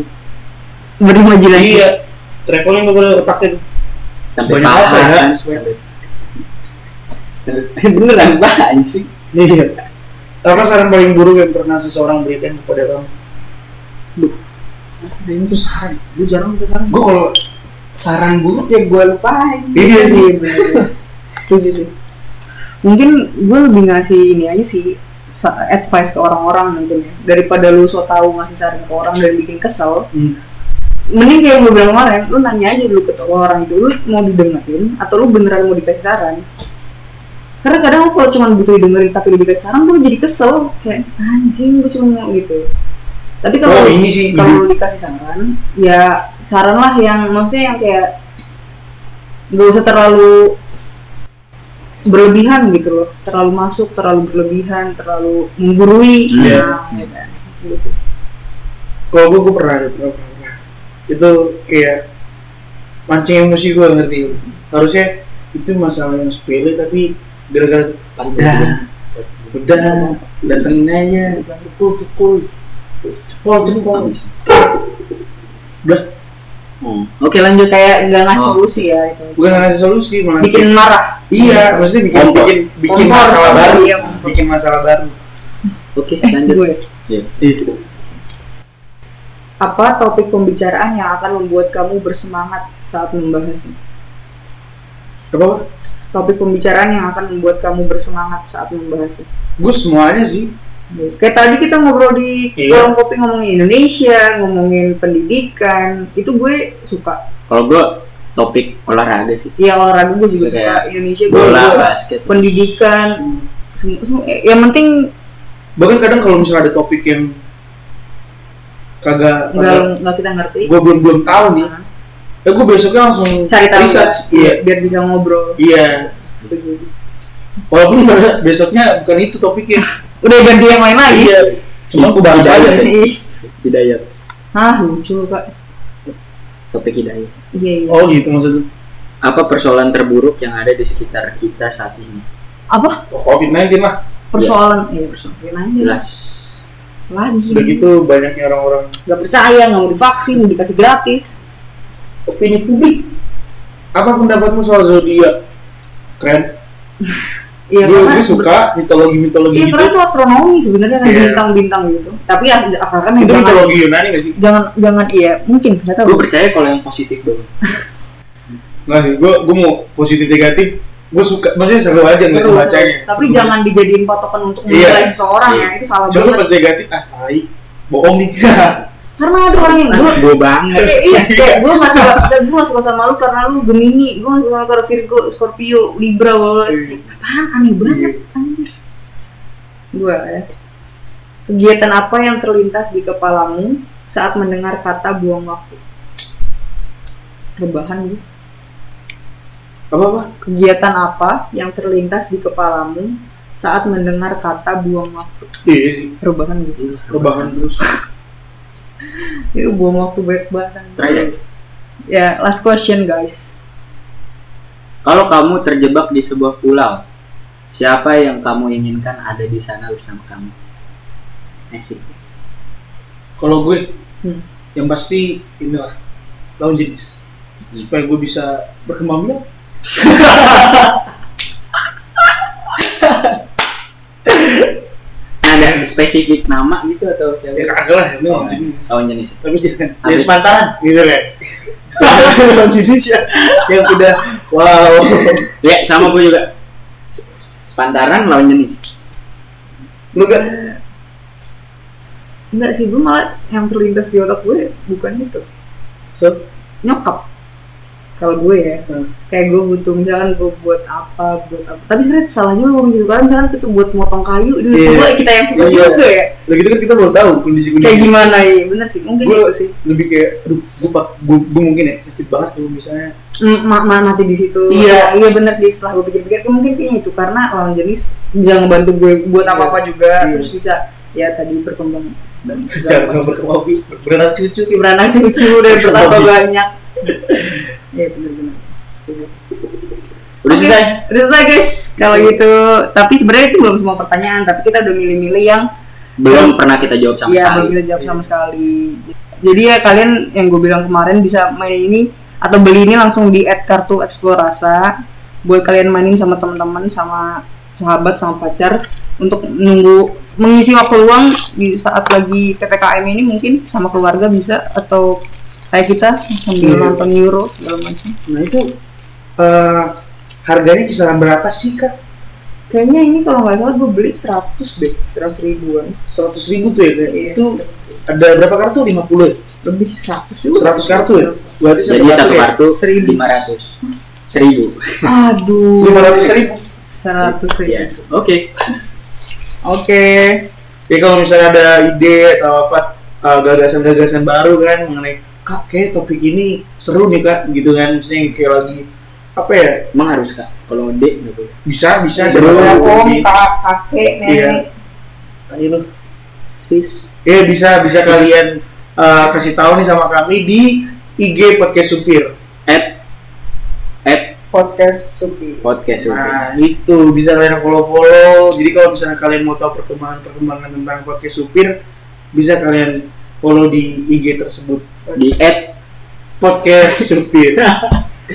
[SPEAKER 3] berimajinasi
[SPEAKER 1] iya *laughs* traveling gue boleh otaknya tuh.
[SPEAKER 2] sampai
[SPEAKER 1] Banyak
[SPEAKER 2] paha
[SPEAKER 1] apa ya?
[SPEAKER 2] kan sampai sampai- *laughs* beneran banget sih
[SPEAKER 1] Iya. Apa saran paling buruk yang pernah seseorang berikan kepada kamu?
[SPEAKER 4] Duh.
[SPEAKER 1] Nah, ini tuh saran. Gue jarang minta saran.
[SPEAKER 4] Gue kalau saran buruk ya gue lupain.
[SPEAKER 1] Iya *laughs* sih.
[SPEAKER 3] sih bener. setuju sih mungkin gue lebih ngasih ini aja sih sa- advice ke orang-orang mungkin ya daripada lu so tau ngasih saran ke orang dan bikin kesel
[SPEAKER 1] Hmm.
[SPEAKER 3] mending kayak yang gue bilang kemarin lu nanya aja dulu ke orang itu lu mau didengerin atau lu beneran mau dikasih saran karena kadang lu kalau cuma butuh didengerin tapi lu dikasih saran tuh jadi kesel kayak anjing gue cuma mau gitu tapi kalau
[SPEAKER 1] Oh, ini sih,
[SPEAKER 3] kalau lu dikasih saran ya saran lah yang maksudnya yang kayak nggak usah terlalu berlebihan gitu loh terlalu masuk terlalu berlebihan terlalu menggurui
[SPEAKER 2] Hmm.
[SPEAKER 1] Iya.
[SPEAKER 3] Nah, gitu kan. Gitu sih.
[SPEAKER 1] Kalau gue, gue pernah ada pernah, pernah. Itu kayak mancing emosi gue ngerti. Harusnya itu masalah yang sepele tapi gara-gara
[SPEAKER 4] Pas
[SPEAKER 1] udah udah datengin aja pukul pukul cepol cepol udah
[SPEAKER 2] Hmm. oke lanjut
[SPEAKER 3] kayak nggak ngasih
[SPEAKER 2] Oh.
[SPEAKER 3] solusi ya itu
[SPEAKER 1] bukan ngasih solusi malah
[SPEAKER 3] bikin marah
[SPEAKER 1] iya maksudnya bikin
[SPEAKER 2] Kompor.
[SPEAKER 1] bikin bikin
[SPEAKER 3] Kompor.
[SPEAKER 1] masalah baru
[SPEAKER 3] Iya, kompor.
[SPEAKER 1] bikin masalah baru
[SPEAKER 2] oke
[SPEAKER 3] eh
[SPEAKER 2] lanjut
[SPEAKER 3] gue
[SPEAKER 2] Iya.
[SPEAKER 3] apa topik pembicaraan yang akan membuat kamu bersemangat saat membahasnya
[SPEAKER 1] apa apa
[SPEAKER 3] topik pembicaraan yang akan membuat kamu bersemangat saat membahasnya
[SPEAKER 1] gue semuanya sih
[SPEAKER 3] kayak tadi kita ngobrol di
[SPEAKER 1] Iya.
[SPEAKER 3] warung kopi ngomongin Indonesia ngomongin pendidikan itu gue suka
[SPEAKER 2] kalau gue topik olahraga sih
[SPEAKER 3] ya olahraga gue juga
[SPEAKER 2] Itu
[SPEAKER 3] suka
[SPEAKER 2] kayak
[SPEAKER 3] Indonesia gue
[SPEAKER 2] bola
[SPEAKER 3] suka.
[SPEAKER 2] basket
[SPEAKER 3] pendidikan semua semua- yang penting
[SPEAKER 1] bahkan kadang kalau misalnya ada topik yang kagak kagak-
[SPEAKER 3] nggak nggak kita ngerti
[SPEAKER 1] gue belum belum tahu nih ya gue besoknya langsung
[SPEAKER 3] cari tahu
[SPEAKER 1] research iya
[SPEAKER 3] biar bisa ngobrol
[SPEAKER 1] iya
[SPEAKER 3] setuju
[SPEAKER 1] walaupun *laughs* besoknya bukan itu topiknya
[SPEAKER 3] udah ganti yang lain lagi
[SPEAKER 1] iya cuma ya. gue bahas aja
[SPEAKER 3] Ih,
[SPEAKER 2] hidayat
[SPEAKER 3] Hah lucu kak
[SPEAKER 2] topik hidayat
[SPEAKER 3] iya iya
[SPEAKER 1] oh gitu maksudnya
[SPEAKER 2] apa persoalan terburuk yang ada di sekitar kita saat ini
[SPEAKER 3] apa
[SPEAKER 1] covid 19 lah
[SPEAKER 3] persoalan iya persoalan aja
[SPEAKER 2] jelas
[SPEAKER 3] lagi
[SPEAKER 1] udah gitu banyaknya orang-orang
[SPEAKER 3] nggak percaya nggak mau divaksin mau dikasih gratis
[SPEAKER 1] opini publik apa pendapatmu soal zodiak keren
[SPEAKER 3] iya
[SPEAKER 1] gue
[SPEAKER 3] karena
[SPEAKER 1] gue suka mitologi mitologi
[SPEAKER 3] iya
[SPEAKER 1] gitu
[SPEAKER 3] karena itu astronomi sebenarnya kan
[SPEAKER 1] Iya.
[SPEAKER 3] bintang-bintang gitu tapi as- asalkan
[SPEAKER 1] itu
[SPEAKER 3] jangan,
[SPEAKER 1] mitologi Yunani gak sih
[SPEAKER 3] jangan jangan iya mungkin nggak
[SPEAKER 2] gue
[SPEAKER 3] tahu
[SPEAKER 2] percaya kalau yang positif dong
[SPEAKER 1] nggak sih gue gue mau positif negatif gue suka maksudnya seru aja nggak
[SPEAKER 3] Seru,
[SPEAKER 1] bacanya
[SPEAKER 3] seru. tapi jangan dijadiin patokan untuk
[SPEAKER 1] Iya.
[SPEAKER 3] menilai seseorang
[SPEAKER 2] Iya.
[SPEAKER 3] ya itu salah
[SPEAKER 1] Coba
[SPEAKER 3] banget
[SPEAKER 1] pas negatif, ah tai, bohong nih. *laughs*
[SPEAKER 3] karena ada orang yang gue
[SPEAKER 2] gue banget
[SPEAKER 3] Iya, iya, kayak gue gak suka, gue gak suka sama lu karena lu Gemini, gue gak suka sama lu karena Virgo, Scorpio, Libra, blablabla.
[SPEAKER 1] Iya.
[SPEAKER 3] Apaan? Aneh banget, anjir. Gue ya. Kegiatan apa yang terlintas di kepalamu saat mendengar kata buang waktu? Rebahan gue.
[SPEAKER 1] apa apa?
[SPEAKER 3] Kegiatan apa yang terlintas di kepalamu saat mendengar kata buang waktu
[SPEAKER 1] Iya,
[SPEAKER 3] perubahan gitu
[SPEAKER 1] rebahan terus.
[SPEAKER 3] itu buang waktu banyak banget
[SPEAKER 2] Terakhir.
[SPEAKER 3] ya last question guys
[SPEAKER 2] Kalau kamu terjebak di sebuah pulau, siapa yang kamu inginkan ada di sana bersama kamu? Asik.
[SPEAKER 1] Kalau gue,
[SPEAKER 3] Hmm.
[SPEAKER 1] yang pasti inilah lawan jenis supaya gue bisa berkembang biak.
[SPEAKER 2] Ada spesifik nama gitu atau siapa?
[SPEAKER 1] Ya kagak lah, ini
[SPEAKER 2] Oh,
[SPEAKER 1] lawan jenis.
[SPEAKER 2] lawan jenis.
[SPEAKER 1] Tapi jangan
[SPEAKER 2] Tapi-
[SPEAKER 1] jadi sepantaran, gitu ya. lawan jenis ya, yang udah wow.
[SPEAKER 2] Ya sama gue juga. Se- Sepantaran lawan jenis.
[SPEAKER 1] Lu gak?
[SPEAKER 3] enggak sih gue malah yang terlintas di otak gue bukan itu
[SPEAKER 1] So,
[SPEAKER 3] nyokap kalau gue ya
[SPEAKER 1] Hmm.
[SPEAKER 3] kayak gue butuh misalkan gue buat apa buat apa tapi sebenarnya salah juga gue gitu kan misalkan kita buat motong kayu dulu
[SPEAKER 1] Iya.
[SPEAKER 3] gue kita yang susah
[SPEAKER 1] Iya.
[SPEAKER 3] juga ya
[SPEAKER 1] lagi itu kan kita belum tahu kondisi
[SPEAKER 3] kayak
[SPEAKER 1] kondisi.
[SPEAKER 3] gimana ya bener sih mungkin
[SPEAKER 1] Gue
[SPEAKER 3] itu sih
[SPEAKER 1] lebih kayak, aduh, gue pak, gue, gue mungkin ya sakit banget kalau misalnya
[SPEAKER 3] Mm, ma ma- mati di situ
[SPEAKER 1] Iya.
[SPEAKER 3] iya bener sih setelah gue pikir-pikir kayak mungkin kayaknya itu karena lawan jenis bisa ngebantu gue buat
[SPEAKER 1] Iya.
[SPEAKER 3] apa apa juga
[SPEAKER 1] Iya.
[SPEAKER 3] terus bisa ya tadi berkembang dan
[SPEAKER 1] *laughs* *laughs* secara nggak berkembang biak, beranak cucu kayak
[SPEAKER 3] beranak cucu dan bertambah
[SPEAKER 1] Berkembang.
[SPEAKER 3] banyak ya bener-bener Setuju sih.
[SPEAKER 2] Udah
[SPEAKER 3] Oke,
[SPEAKER 2] selesai. Iya.
[SPEAKER 3] Udah selesai guys. Kalau gitu, tapi sebenarnya itu belum semua pertanyaan, tapi kita udah milih-milih yang
[SPEAKER 1] Iya.
[SPEAKER 2] Belum pernah kita jawab sama
[SPEAKER 3] ya belum
[SPEAKER 2] sekali. Iya.
[SPEAKER 3] kita jawab sama sekali. Jadi ya kalian yang gue bilang kemarin bisa main ini atau beli ini langsung di add kartu eksplorasa buat kalian mainin sama teman-teman, sama sahabat, sama pacar untuk nunggu mengisi waktu luang di saat lagi ppkm ini mungkin sama keluarga bisa atau kayak kita sambil
[SPEAKER 1] Iya.
[SPEAKER 3] nonton Euro segala macam.
[SPEAKER 1] Nah itu eh, harganya kisaran berapa sih kak?
[SPEAKER 3] Kayaknya ini kalau nggak salah gue beli 100 deh, 100 ribuan.
[SPEAKER 1] Seratus ribu tuh ya? Kak?
[SPEAKER 3] Iya.
[SPEAKER 1] Itu ada berapa kartu? 50 ya?
[SPEAKER 3] lebih 100 juga
[SPEAKER 1] 100 kartu ya? Berarti satu
[SPEAKER 2] Jadi satu
[SPEAKER 1] kartu ya.
[SPEAKER 2] kartu
[SPEAKER 3] Seribu.
[SPEAKER 2] lima ratus. *laughs* Seribu.
[SPEAKER 3] aduh
[SPEAKER 1] lima ratus ribu.
[SPEAKER 3] 100 ribu
[SPEAKER 2] Ya. Oke.
[SPEAKER 3] oke
[SPEAKER 1] Ya kalau misalnya ada ide atau apa eh, gagasan-gagasan baru kan mengenai kak kayak topik ini seru nih kak gitu kan misalnya yang kayak lagi apa ya
[SPEAKER 2] Emang harus kak. Kalau D nggak boleh.
[SPEAKER 1] bisa bisa
[SPEAKER 2] Seru.
[SPEAKER 1] seru
[SPEAKER 3] om
[SPEAKER 1] Di-
[SPEAKER 3] kak kakek
[SPEAKER 1] Iya.
[SPEAKER 3] nenek
[SPEAKER 1] ayo lu.
[SPEAKER 3] sis
[SPEAKER 1] ya bisa bisa kalian eh, kasih tahu nih sama kami di IG podcast supir
[SPEAKER 2] At at
[SPEAKER 3] podcast supi
[SPEAKER 2] podcast oke.
[SPEAKER 1] Nah itu bisa kalian follow follow. Jadi kalau misalnya kalian mau tahu perkembangan perkembangan tentang podcast supir, bisa kalian follow di IG tersebut
[SPEAKER 2] Di at
[SPEAKER 1] podcast supir.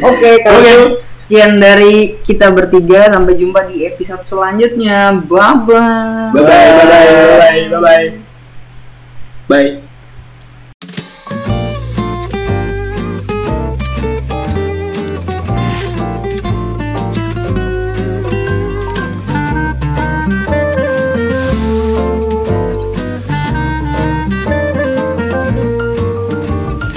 [SPEAKER 3] oke kalau gitu, sekian dari kita bertiga sampai jumpa di episode selanjutnya bye bye
[SPEAKER 2] bye bye bye bye bye bye bye.